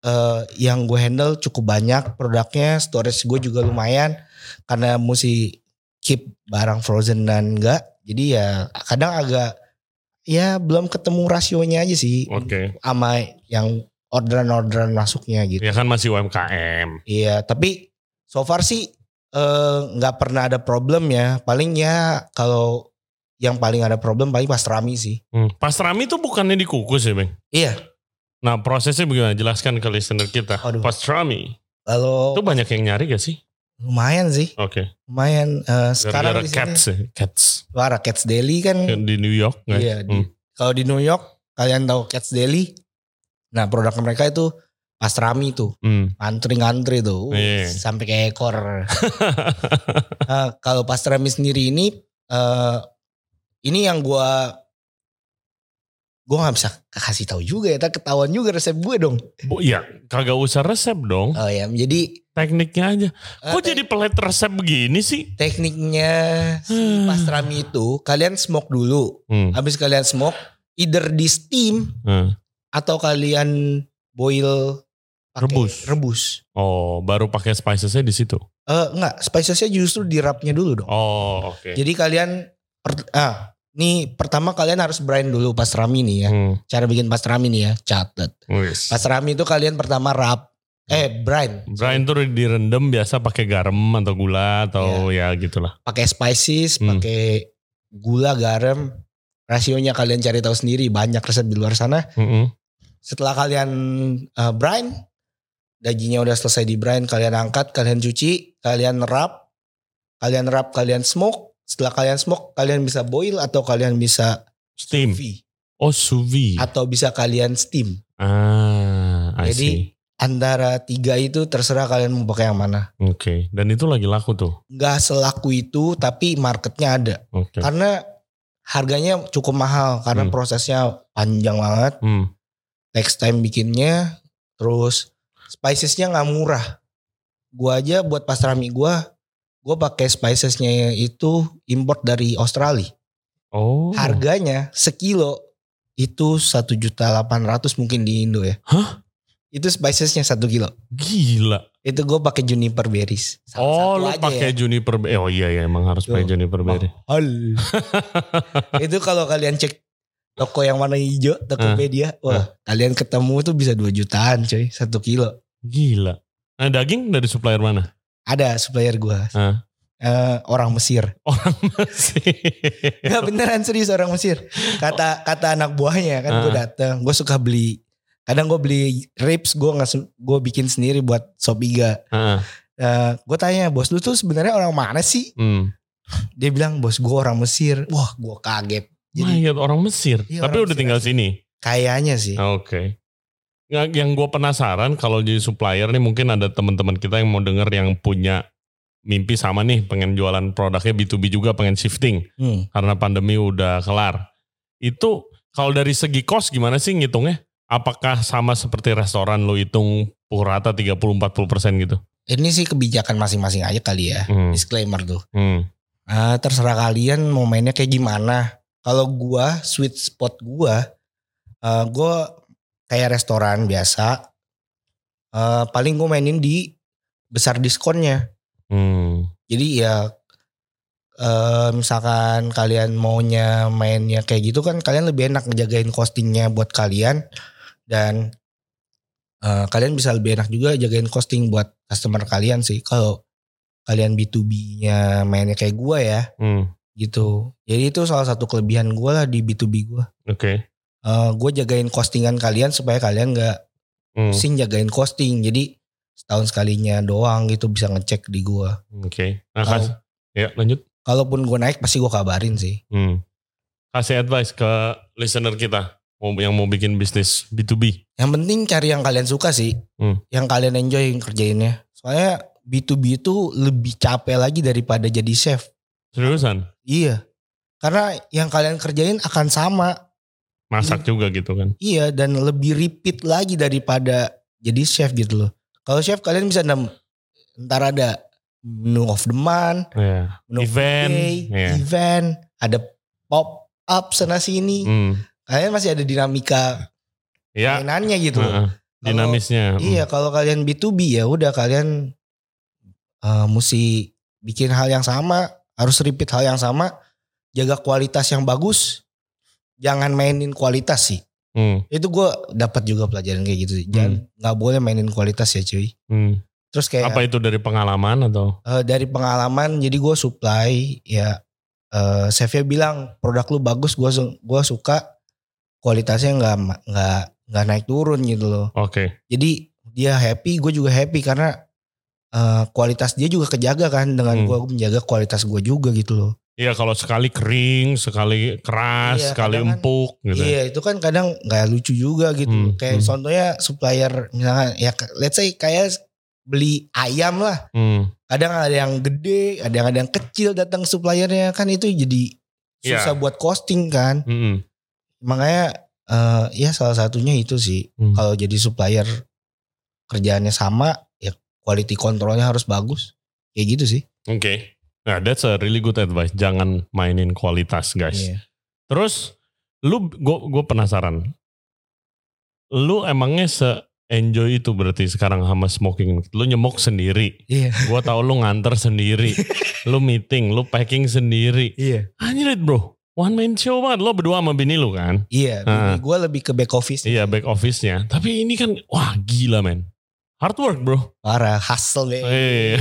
A: eh, yang gue handle cukup banyak produknya, storage gue juga lumayan karena mesti keep barang frozen dan enggak. Jadi ya kadang agak ya belum ketemu rasionya aja sih
B: Oke.
A: sama yang orderan-orderan masuknya gitu.
B: Ya kan masih UMKM.
A: Iya, tapi so far sih eh, nggak pernah ada problem ya. Paling ya kalau yang paling ada problem paling pas rami sih.
B: Hmm. Pastrami itu bukannya dikukus ya, Bang?
A: Iya.
B: Nah, prosesnya bagaimana? Jelaskan ke listener kita.
A: Aduh.
B: Pastrami. Itu
A: Kalau
B: banyak yang nyari gak sih?
A: lumayan sih,
B: Oke.
A: lumayan eh, sekarang
B: Gara-gara
A: di sini.
B: cats ya. Cats.
A: Wah, Cats Daily kan.
B: Di New York. nggak?
A: Iya, di-
B: Hmm.
A: Kalau di New York kalian tahu Cats Daily. Nah, produk mereka itu pas rami tuh,
B: Hmm.
A: antri-antri tuh, Uh,
B: Iya.
A: sampai ke ekor. Nah, kalau pas rami sendiri ini eh ini yang gua gua nggak bisa kasih tahu juga ya, tak ketahuan juga resep gue dong.
B: Bu, ya, kagak usah resep dong.
A: Oh ya, jadi
B: Tekniknya aja.
A: eh,
B: Kok
A: te-
B: jadi pelet resep begini sih?
A: tekniknya si
B: Hmm.
A: pastrami itu kalian smoke dulu.
B: Hmm.
A: Habis kalian smoke, either di steam
B: eh.
A: atau kalian boil pakai-
B: Rebus.
A: Rebus.
B: Oh, baru pakai spicesnya di situ.
A: Eh enggak, spicesnya justru dirapnya dulu dong.
B: Oh, oke.
A: Jadi kalian per- ah, nih pertama kalian harus brine dulu pastrami nih ya.
B: Hmm.
A: Cara bikin pastrami nih ya, catat.
B: Wis.
A: Pastrami itu kalian pertama rap eh brine
B: Brian tuh direndam biasa pakai garam atau gula atau
A: Iya.
B: ya gitulah.
A: pakai spices,
B: Hmm.
A: pakai gula, garam. Rasionya kalian cari tahu sendiri, banyak resep di luar sana.
B: Mm-mm.
A: Setelah kalian eh, brine, dagingnya udah selesai di brine, kalian angkat, kalian cuci, kalian wrap, kalian wrap, kalian smoke. Setelah kalian smoke, kalian bisa boil atau kalian bisa
B: Steam.
A: V
B: Oh, sous vide.
A: atau bisa kalian steam.
B: Ah, I
A: Jadi,
B: see.
A: Antara tiga itu terserah kalian mau pakai yang mana.
B: Oke. Dan itu lagi laku tuh.
A: Nggak selaku itu, tapi marketnya ada.
B: Oke.
A: Karena harganya cukup mahal karena
B: Hmm.
A: prosesnya panjang banget,
B: Hmm.
A: text time bikinnya, terus spicesnya nggak murah. Gua aja buat pastrami gua, gua pakai spicesnya itu import dari Australia.
B: Oh.
A: Harganya sekilo itu satu juta mungkin di Indo ya.
B: Hah?
A: Itu spicesnya satu kilo.
B: Gila.
A: Itu gue pakai juniper berries. Salah
B: oh,
A: satu
B: lu
A: aja
B: pakai
A: ya.
B: juniper berry. Oh iya ya, emang harus
A: Tuh.
B: pakai juniper berry.
A: Mahal. itu kalau kalian cek toko yang warna hijau, Tokopedia, wah, kalian ketemu tuh bisa 2 jutaan, coy, satu kilo.
B: Gila. Nah, daging dari supplier mana?
A: Ada supplier gua.
B: Hah?
A: Eh, orang Mesir.
B: Orang Mesir. Iya.
A: Gak beneran serius orang Mesir. Kata kata anak buahnya kan gue
B: Ah.
A: datang, gue suka beli kadang gue beli ribs gue nggak gue bikin sendiri buat sop iga
B: Ah,
A: gue tanya bos lu tuh sebenarnya orang mana sih
B: hmm.
A: dia bilang bos gue orang Mesir wah gue kaget Jadi-
B: My God, orang Mesir.
A: Iya,
B: Tapi
A: orang
B: udah
A: Mesir
B: tinggal sini.
A: kayaknya sih
B: Oh. Oke. Nggak, yang gue penasaran kalau jadi supplier nih mungkin ada teman-teman kita yang mau denger yang punya mimpi sama nih pengen jualan produknya B2B juga pengen shifting
A: Hmm.
B: karena pandemi udah kelar. Itu kalau dari segi cost gimana sih ngitungnya? Apakah sama seperti restoran lo hitung pukul rata 30-40% gitu?
A: ini sih kebijakan masing-masing aja kali ya
B: Hmm,
A: disclaimer tuh
B: hmm,
A: Ah, terserah kalian mau mainnya kayak gimana kalau gua sweet spot gua eh, gua kayak restoran biasa Eh, paling gua mainin di besar diskonnya
B: hmm.
A: jadi ya eh, misalkan kalian maunya mainnya kayak gitu kan kalian lebih enak ngejagain costingnya buat kalian dan eh, kalian bisa lebih enak juga jagain costing buat customer kalian sih kalau kalian B2B-nya mainnya kayak gua ya
B: hmm.
A: gitu. Jadi itu salah satu kelebihan gue lah di B2B gue.
B: Oke.
A: gue jagain costingan kalian supaya kalian nggak
B: Hmm,
A: pusing jagain costing. Jadi setahun sekalinya doang gitu bisa ngecek di gue.
B: Oke. Nah, kas- ya lanjut.
A: Kalaupun gue naik pasti gue kabarin sih.
B: Hmm. Kasih advice ke listener kita mau- yang mau bikin bisnis B2B.
A: Yang penting cari yang kalian suka sih.
B: Hmm.
A: Yang kalian enjoy yang kerjainnya. Soalnya B2B itu lebih capek lagi daripada jadi chef.
B: Seriusan?
A: Iya. Karena yang kalian kerjain akan sama.
B: masak juga gitu kan.
A: Iya dan lebih repeat lagi daripada jadi chef gitu loh. Kalau chef kalian bisa nem ntar ada menu of the month,
B: Iya.
A: menu of the
B: Event,
A: day,
B: iya.
A: event, ada pop up sana sini.
B: Hmm.
A: Kalian masih ada dinamika
B: Ya.
A: mainannya gitu. loh.
B: heeh.
A: Kalau-
B: dinamisnya. Hmm.
A: Iya, kalau kalian B2B ya udah kalian eh, mesti bikin hal yang sama, harus repeat hal yang sama, jaga kualitas yang bagus. Jangan mainin kualitas sih.
B: Hmm,
A: Itu gue dapat juga pelajaran kayak gitu sih. Jangan nggak boleh mainin kualitas ya, cuy.
B: hmm.
A: Terus kayak
B: Apa itu dari pengalaman atau?
A: eh, dari pengalaman jadi gue supply ya eh chefnya bilang produk lu bagus, gue gua suka kualitasnya nggak ma- nggak nggak naik turun gitu loh.
B: Oke.
A: Jadi dia happy, gue juga happy karena eh, kualitas dia juga kejaga kan dengan
B: Hmm.
A: gua gue menjaga kualitas gue juga gitu loh.
B: Iya kalau sekali kering, sekali
A: Iya,
B: keras, sekali
A: kadang kan-
B: empuk gitu.
A: Iya itu kan kadang nggak lucu juga gitu.
B: Hmm,
A: Kayak
B: hmm.
A: contohnya supplier misalkan ya ke- let's say kayak beli ayam lah.
B: Hmm.
A: Kadang ada yang gede, ada yang ada yang kecil datang suppliernya kan itu jadi
B: Iya.
A: susah buat costing kan.
B: Mm-mm.
A: Makanya eh, ya salah satunya itu sih
B: Hmm.
A: kalau jadi supplier kerjaannya sama ya quality controlnya harus bagus. Kayak gitu sih.
B: Oke. Nah, that's a really good advice. Jangan mainin kualitas, guys.
A: Iya.
B: Terus lu gue gue penasaran. Lu emangnya se enjoy itu berarti sekarang sama smoking. Lu nyemok sendiri.
A: Iya.
B: Gua tau lu nganter sendiri. lu meeting, lu packing sendiri.
A: Iya.
B: Anjir bro, one man show banget. Lo berdua sama bini lu kan?
A: Iya,
B: Ah.
A: gue lebih ke back office.
B: Iya back office-nya. Tapi ini kan wah gila men. Hard work bro.
A: Parah, hustle deh.
B: Eh.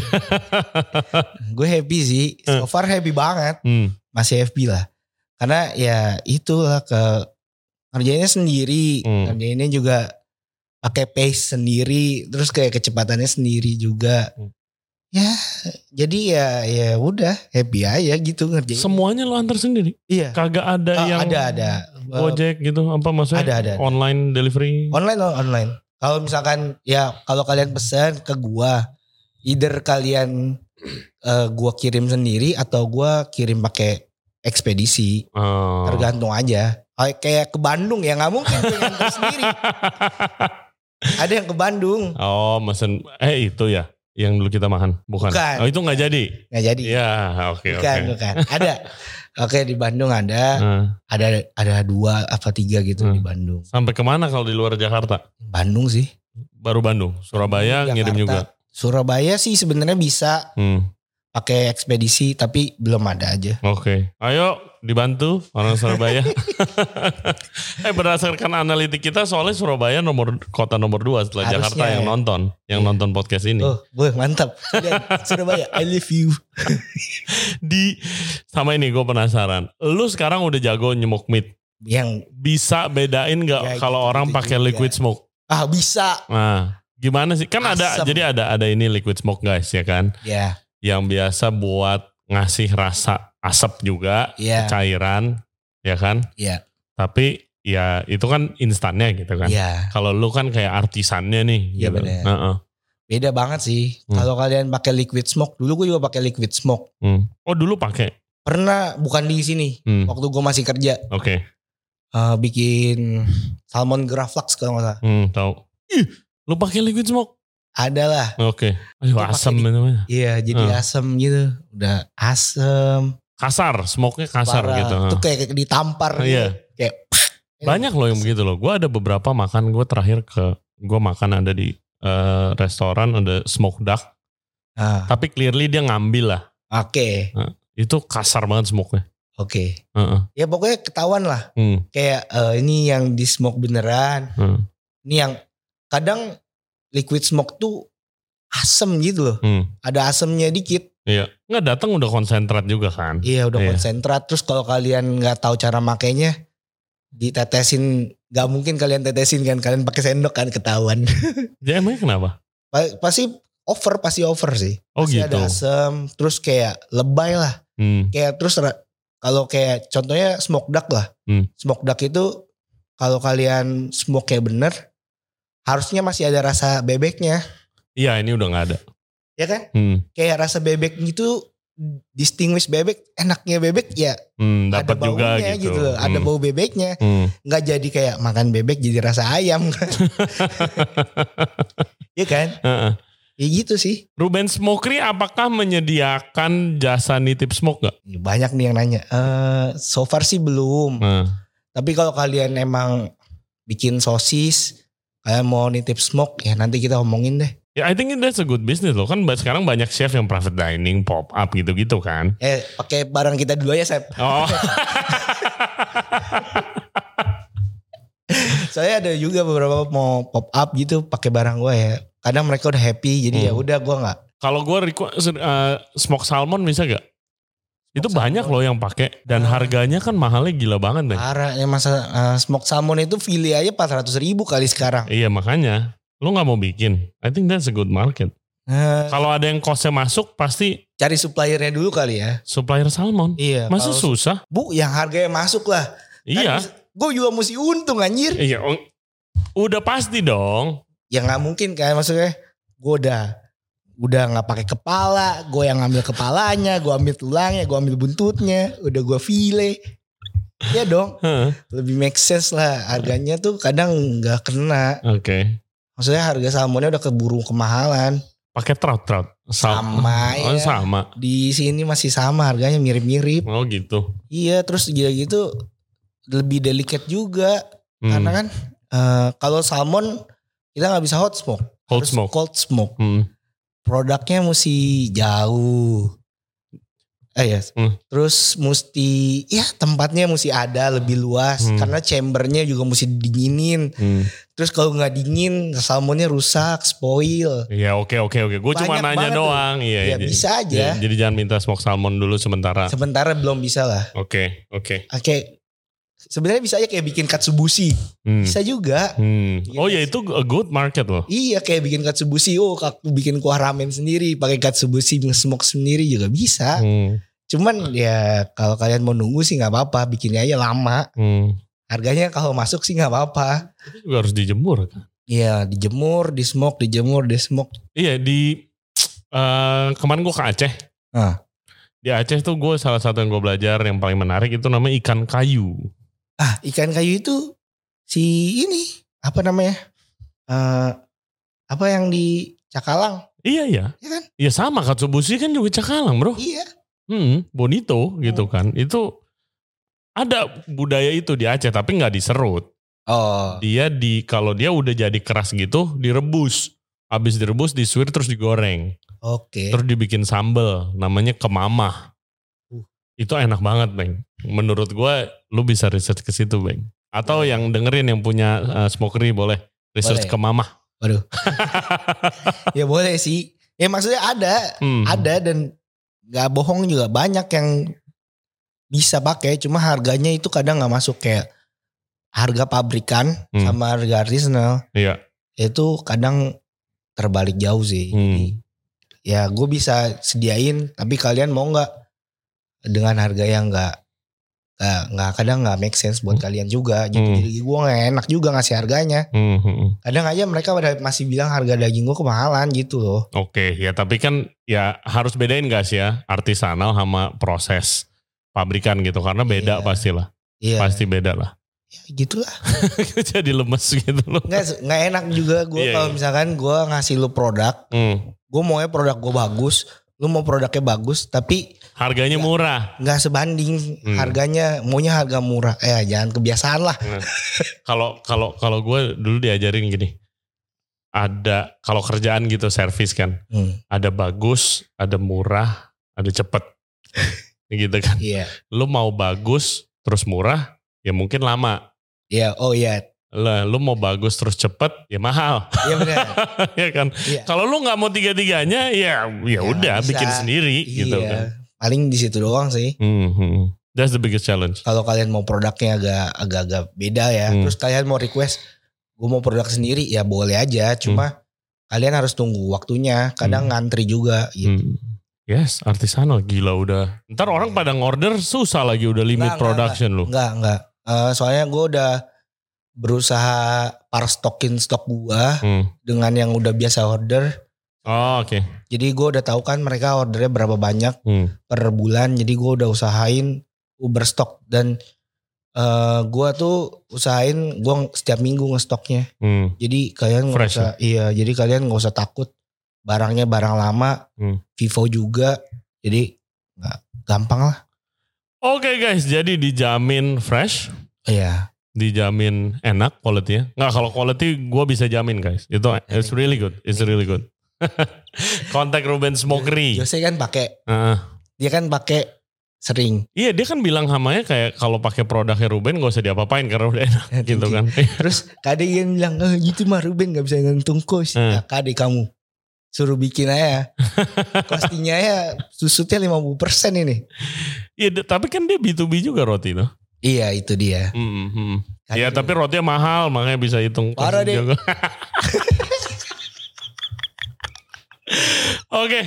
A: Gue happy sih. So far happy banget.
B: Hmm,
A: Masih happy lah. Karena ya itulah ke kerjanya sendiri,
B: Hmm.
A: kerjainnya juga pakai pace sendiri, terus kayak kecepatannya sendiri juga.
B: Hmm.
A: Ya, jadi ya ya udah happy aja gitu ngerjain.
B: Semuanya lo antar sendiri.
A: iya.
B: Kagak ada
A: Ah,
B: yang
A: ada ada.
B: Gojek gitu apa maksudnya?
A: Ada, ada, ada.
B: Online delivery.
A: Online on- online. Kalau misalkan ya kalau kalian pesan ke gua, either kalian eh, gua kirim sendiri atau gua kirim pakai ekspedisi,
B: Oh.
A: tergantung aja. Kayak- Kayak ke Bandung ya nggak mungkin gua nganter sendiri. Ada yang ke Bandung
B: oh, mesen eh itu ya yang dulu kita makan, bukan?
A: Bukan.
B: Oh, itu nggak jadi.
A: nggak jadi.
B: Iya, oke oke.
A: bukan bukan. Ada. Oke di Bandung ada,
B: Nah,
A: ada ada dua apa tiga gitu
B: Hmm.
A: di Bandung.
B: sampai kemana kalau di luar Jakarta?
A: Bandung sih.
B: Baru Bandung, Surabaya ngirim
A: Jakarta.
B: juga.
A: Surabaya sih sebenarnya bisa
B: Hmm,
A: pakai ekspedisi tapi belum ada aja.
B: oke. Ayo dibantu orang Surabaya. eh berdasarkan analitik kita soalnya Surabaya nomor kota nomor dua setelah
A: Harusnya
B: Jakarta yang
A: ya.
B: nonton, yang
A: Iya.
B: nonton podcast ini.
A: Oh, boleh mantap. Dan Surabaya, I love you.
B: Di sama ini gue penasaran. Lu sekarang udah jago nyemok meat.
A: Yang
B: bisa bedain
A: Ya,
B: nggak kalau
A: gitu,
B: orang
A: gitu
B: pakai
A: juga.
B: liquid smoke?
A: ah bisa.
B: Nah, gimana sih? Kan ada
A: Asem.
B: jadi ada ada ini liquid smoke guys ya kan,
A: Ya,
B: yang biasa buat ngasih rasa asap juga
A: ya,
B: cairan ya kan?
A: Iya.
B: Tapi ya itu kan instannya gitu kan.
A: ya.
B: Kalau lu kan kayak artisannya nih
A: Iya,
B: gitu.
A: bener.
B: Heeh.
A: Beda banget sih.
B: Hmm.
A: Kalau kalian pakai liquid smoke, dulu gue juga pakai liquid smoke.
B: Hmm. Oh, dulu pakai.
A: Pernah bukan di sini.
B: Hmm, Oke.
A: Waktu gue masih kerja eh, bikin salmon graflax kalau nggak salah.
B: Hmm, tahu. Ih, lu pakai liquid smoke.
A: Ada lah.
B: Oke. Aduh,
A: Gua pakai
B: asem
A: di-
B: namanya.
A: Iya, jadi
B: Hmm.
A: asem gitu. Udah asem.
B: Kasar, smoke-nya kasar
A: parah.
B: gitu.
A: Itu kayak, kayak ditampar.
B: Ah, Iya.
A: Kayak, Iya.
B: Banyak loh yang begitu loh. Gue ada beberapa makan gue terakhir ke gue makan ada di eh, restoran ada smoke duck.
A: Ah,
B: Tapi clearly dia ngambil lah.
A: oke,
B: Itu kasar banget smoke-nya.
A: oke.
B: Heeh.
A: Ya pokoknya ketahuan lah.
B: Hmm.
A: Kayak eh, ini yang di smoke beneran.
B: Hmm.
A: Ini yang kadang liquid smoke tuh asem gitu loh.
B: Hmm.
A: Ada asemnya dikit.
B: Iya. Nggak datang udah konsentrat juga kan.
A: Iya udah
B: Iya.
A: konsentrat. Terus kalau kalian nggak tahu cara makainya ditetesin nggak mungkin kalian tetesin kan kalian pakai sendok kan ketahuan
B: Ya emangnya kenapa?
A: Pa- pasti over pasti over sih
B: Oh
A: pasti
B: gitu.
A: ada asem terus kayak lebay lah
B: Hmm.
A: kayak terus ra- kalau kayak contohnya smoke duck lah
B: Hmm.
A: smoke duck itu kalau kalian smoke kayak bener harusnya masih ada rasa bebeknya
B: Iya ini udah nggak ada.
A: ya kan
B: Hmm.
A: kayak rasa bebek gitu distinguish bebek enaknya bebek ya
B: Hmm, dapat
A: ada
B: juga
A: baunya
B: gitu.
A: loh. ada
B: Hmm.
A: bau bebeknya
B: Hmm.
A: nggak jadi kayak makan bebek jadi rasa ayam ya kan
B: Heeh.
A: ya gitu sih
B: Ruben Smokery apakah menyediakan jasa nitip smoke nggak?
A: Ya, banyak nih yang nanya Eh, so far sih belum
B: Nah.
A: tapi kalau kalian emang bikin sosis Eh, mau nitip smoke ya nanti kita omongin deh.
B: Ya, I think that's a good business loh. Kan ba- sekarang banyak chef yang private dining, pop up gitu-gitu kan.
A: Eh pakai barang kita dulu aja Sep.
B: Oh,
A: Saya ada juga beberapa mau pop up gitu pakai barang gue ya. Kadang mereka udah happy jadi ya
B: Hmm.
A: udah gue nggak.
B: kalau gue request uh, smoke salmon bisa gak? Itu
A: Smoked
B: banyak
A: salmon.
B: loh yang pakai dan
A: Ah.
B: harganya kan mahalnya gila banget deh.
A: Parah ya masa eh, smoke salmon itu file aja 400 ribu kali sekarang.
B: Iya makanya lu nggak mau bikin. I think that's a good market.
A: Eh,
B: Kalau ada yang kosnya masuk pasti
A: cari suppliernya dulu kali ya.
B: supplier salmon.
A: Iya.
B: Masa
A: kalau-
B: susah?
A: Bu yang harganya masuk lah.
B: Iya.
A: Gue juga mesti untung anjir.
B: Iya. ong- Udah pasti dong.
A: Ya nggak mungkin kayak maksudnya gue udah udah nggak pakai kepala, gue yang ngambil kepalanya, gue ambil tulangnya, gue ambil buntutnya, udah gue file. Ya dong,
B: Hah,
A: lebih make sense lah. Harganya tuh kadang nggak kena.
B: Oke.
A: Maksudnya harga salmonnya udah keburu kemahalan.
B: Pakai trout trout. Sal-
A: Sama
B: Oh,
A: ya.
B: sama.
A: Di sini masih sama harganya mirip-mirip.
B: Oh gitu.
A: Iya, terus gila gitu lebih delicate juga.
B: Hmm.
A: Karena kan eh, kalau salmon kita nggak bisa hot smoke,
B: cold
A: Harus
B: smoke.
A: cold smoke.
B: Hmm.
A: Produknya mesti jauh. Eh ya,
B: Hmm.
A: terus mesti ya tempatnya mesti ada lebih luas
B: Hmm.
A: karena chambernya juga mesti dinginin.
B: Hmm.
A: Terus kalau nggak dingin salmonnya rusak, spoil.
B: Iya oke oke oke. Gue
A: Banyak
B: cuma nanya
A: banget tuh.
B: doang. Iya,
A: Ya,
B: iya.
A: bisa
B: Jadi,
A: aja.
B: jadi jangan minta smoke salmon dulu sementara.
A: Sementara belum bisa lah.
B: Oke oke.
A: Oke. Sebenarnya bisa aja kayak bikin katsubushi.
B: Hmm.
A: Bisa juga.
B: Hmm.
A: Iya,
B: Oh ya
A: guys.
B: itu a good market loh.
A: Iya kayak bikin katsubushi, oh aku bikin kuah ramen sendiri, pakai katsubushi smoke sendiri juga bisa.
B: Hmm.
A: Cuman ya kalau kalian mau nunggu sih nggak apa-apa, bikinnya aja lama.
B: Hmm.
A: Harganya kalau masuk sih nggak apa-apa.
B: Itu juga harus dijemur kan.
A: Iya dijemur, di smoke, dijemur, di smoke.
B: Iya di eh kemarin gue ke Aceh.
A: Ah.
B: Di Aceh tuh gue salah satu yang gue belajar yang paling menarik itu namanya ikan kayu.
A: Ah ikan kayu itu si ini apa namanya? Eh apa yang di Cakalang?
B: Iya ya.
A: Iya kan?
B: Iya sama katsuobushi kan juga cakalang bro.
A: Iya. Oh.
B: Hmm, bonito gitu kan. Itu ada budaya itu di Aceh tapi nggak diserut.
A: Oh.
B: Dia di kalau dia udah jadi keras gitu direbus. Habis direbus disuir terus digoreng.
A: Oke.
B: Terus dibikin sambel namanya kemamah.
A: Uh.
B: Itu enak banget, Bang. Menurut gua lu bisa research ke situ, Bang. Atau
A: Boleh.
B: yang dengerin yang punya uh, smokery boleh
A: Nah.
B: research
A: Boleh.
B: kemamah.
A: Ya boleh sih. Ya maksudnya ada,
B: Hmm.
A: ada dan nggak bohong juga banyak yang bisa pakai cuma harganya itu kadang nggak masuk kayak harga pabrikan
B: Hmm.
A: sama harga artisanal
B: Iya.
A: itu kadang terbalik jauh sih
B: Hmm.
A: Jadi, ya gue bisa sediain tapi kalian mau nggak dengan harga yang nggak nggak nggak kadang nggak make sense buat kalian juga gitu
B: Hmm.
A: jadi gue nggak enak juga ngasih harganya
B: Hmm, hmm, hmm.
A: kadang aja mereka pada masih bilang harga daging gue kemahalan gitu loh
B: Oke, ya tapi kan ya harus bedain guys ya artisanal sama proses pabrikan gitu karena beda
A: Iya.
B: pastilah.
A: iya
B: Pasti beda lah.
A: ya, gitu lah
B: Jadi lemes gitu loh.
A: nggak nggak enak juga gue
B: Iya,
A: kalau
B: iya.
A: misalkan gue ngasih lu produk
B: Hmm.
A: gue maunya produk gue bagus lu mau produknya bagus tapi Iya.
B: Harganya murah.
A: nggak sebanding
B: Hmm.
A: harganya maunya harga murah eh jangan kebiasaan lah
B: kalau kalau kalau gue dulu diajarin gini ada kalau kerjaan gitu servis kan
A: Hmm,
B: ada bagus ada murah ada cepet gitu kan
A: iya
B: lu mau bagus terus murah ya mungkin lama
A: iya oh iya
B: lah lu mau bagus terus cepet ya mahal
A: iya benar
B: ya kan
A: iya
B: kalau lu nggak mau tiga tiganya ya ya udah
A: bisa.
B: bikin sendiri gitu
A: Iya.
B: kan
A: paling di situ doang sih
B: Hmm, hmm, hmm. that's the biggest challenge
A: kalau kalian mau produknya agak agak agak beda ya
B: Hmm.
A: terus kalian mau request gue mau produk sendiri ya boleh aja
B: Hmm.
A: cuma kalian harus tunggu waktunya kadang ngantri juga gitu
B: Hmm. Yes, artisanal gila udah. Ntar orang
A: Iya.
B: pada ngorder susah lagi udah limit
A: Nggak, nggak,
B: production lu.
A: Enggak, enggak. Eh, soalnya gue udah berusaha par stokin stok gua
B: Hmm.
A: dengan yang udah biasa order.
B: Oh, oke.
A: Jadi gue udah tahu kan mereka ordernya berapa banyak
B: Hmm.
A: per bulan. Jadi gue udah usahain uber stok dan eh gue tuh usahain gue setiap minggu ngestoknya.
B: Hmm.
A: Jadi kalian nggak
B: Fresh ya?
A: usah, iya. Jadi kalian nggak usah takut barangnya barang lama,
B: Hmm.
A: Vivo juga. Jadi nggak gampang lah.
B: Oke guys, jadi dijamin fresh,
A: Iya,
B: dijamin enak quality ya. Nggak kalau quality gue bisa jamin guys. Itu it's really good. It's really good. Kontak Ruben Smokery.
A: Jose kan pakai,
B: Heeh.
A: dia kan pakai sering.
B: iya dia kan bilang hamanya kayak kalau pakai produknya Ruben gak usah diapa-apain karena udah enak gitu kan.
A: Terus kadek yang bilang, "Eh, itu mah Ruben gak bisa ngantung kos.
B: Hmm.
A: Nah, kadek kamu suruh bikin aja. Costingnya ya susutnya 50% ini.
B: Iya d- tapi kan dia B2B juga roti tuh.
A: Iya itu dia.
B: Hmm, hmm. Ya
A: Kadek-
B: tapi rotinya mahal makanya bisa hitung.
A: gitu. Parah deh.
B: Jago. Oke.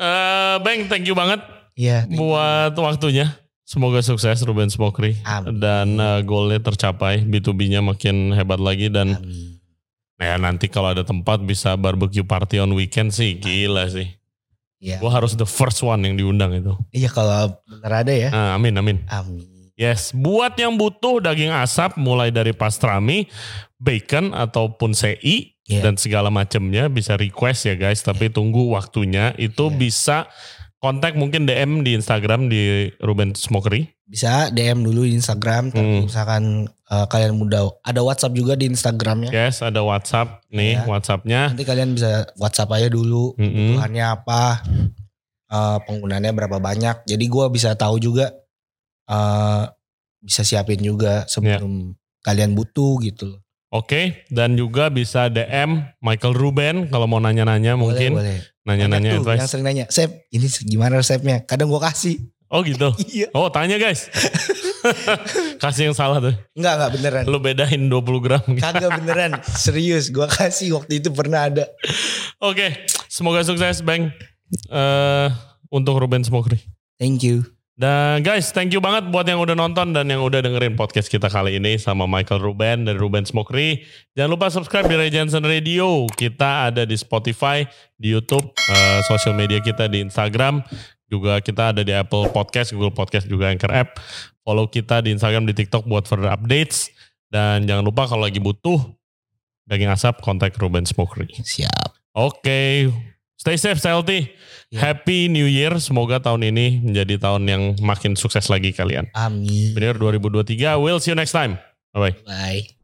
B: Eh, Bang thank you banget
A: Iya.
B: buat waktunya. Semoga sukses Ruben Smokri
A: Amin.
B: dan eh, goalnya tercapai, B2B-nya makin hebat lagi dan
A: Amin.
B: ya nanti kalau ada tempat bisa barbecue party on weekend sih gila sih.
A: Iya.
B: Gua harus the first one yang diundang itu.
A: Iya kalau bener ada ya.
B: Ah, amin amin.
A: Amin.
B: Yes, buat yang butuh daging asap mulai dari pastrami, bacon ataupun CI
A: Iya.
B: dan segala macamnya bisa request ya guys, tapi tunggu waktunya. Itu
A: Iya.
B: bisa kontak mungkin DM di Instagram di Ruben Smokery.
A: Bisa DM dulu di Instagram. Tapi
B: Hmm.
A: misalkan eh, kalian mudah. Ada WhatsApp juga di Instagramnya.
B: Yes, ada WhatsApp nih
A: Eh? Iya.
B: WhatsAppnya.
A: Nanti kalian bisa WhatsApp aja dulu.
B: Mm-mm.
A: Kebutuhannya apa. eh, penggunaannya berapa banyak. Jadi gua bisa tahu juga. eh, bisa siapin juga sebelum kalian butuh gitu. loh.
B: Oke, dan juga bisa DM Michael Ruben kalau mau nanya-nanya mungkin
A: Boleh, boleh. Banyak
B: nanya-nanya
A: tuh
B: advice.
A: Yang sering nanya. Sep ini gimana resepnya. Kadang gua kasih.
B: Oh gitu.
A: Iya.
B: Oh tanya guys. Kasih yang salah tuh.
A: Enggak, enggak beneran.
B: Lu bedain 20 gram.
A: Kagak beneran. Serius. gua kasih waktu itu pernah ada.
B: Oke, semoga sukses Bang Eh, untuk Ruben Smokri.
A: Thank you.
B: Dan guys, thank you banget buat yang udah nonton dan yang udah dengerin podcast kita kali ini sama Michael Ruben dan Ruben Smokri. Jangan lupa subscribe di Ray Jensen Radio. Kita ada di Spotify, di YouTube, eh, social media kita di Instagram, juga kita ada di Apple Podcast, Google Podcast, juga Anchor App. Follow kita di Instagram, di TikTok buat further updates. Dan jangan lupa kalau lagi butuh daging asap, kontak Ruben Smokri.
A: Siap.
B: Oke, stay safe, stay healthy.
A: Ya.
B: Happy New Year. Semoga tahun ini menjadi tahun yang makin sukses lagi kalian.
A: Amin.
B: Benar 2023. We'll see you next time. Bye bye.
A: Bye.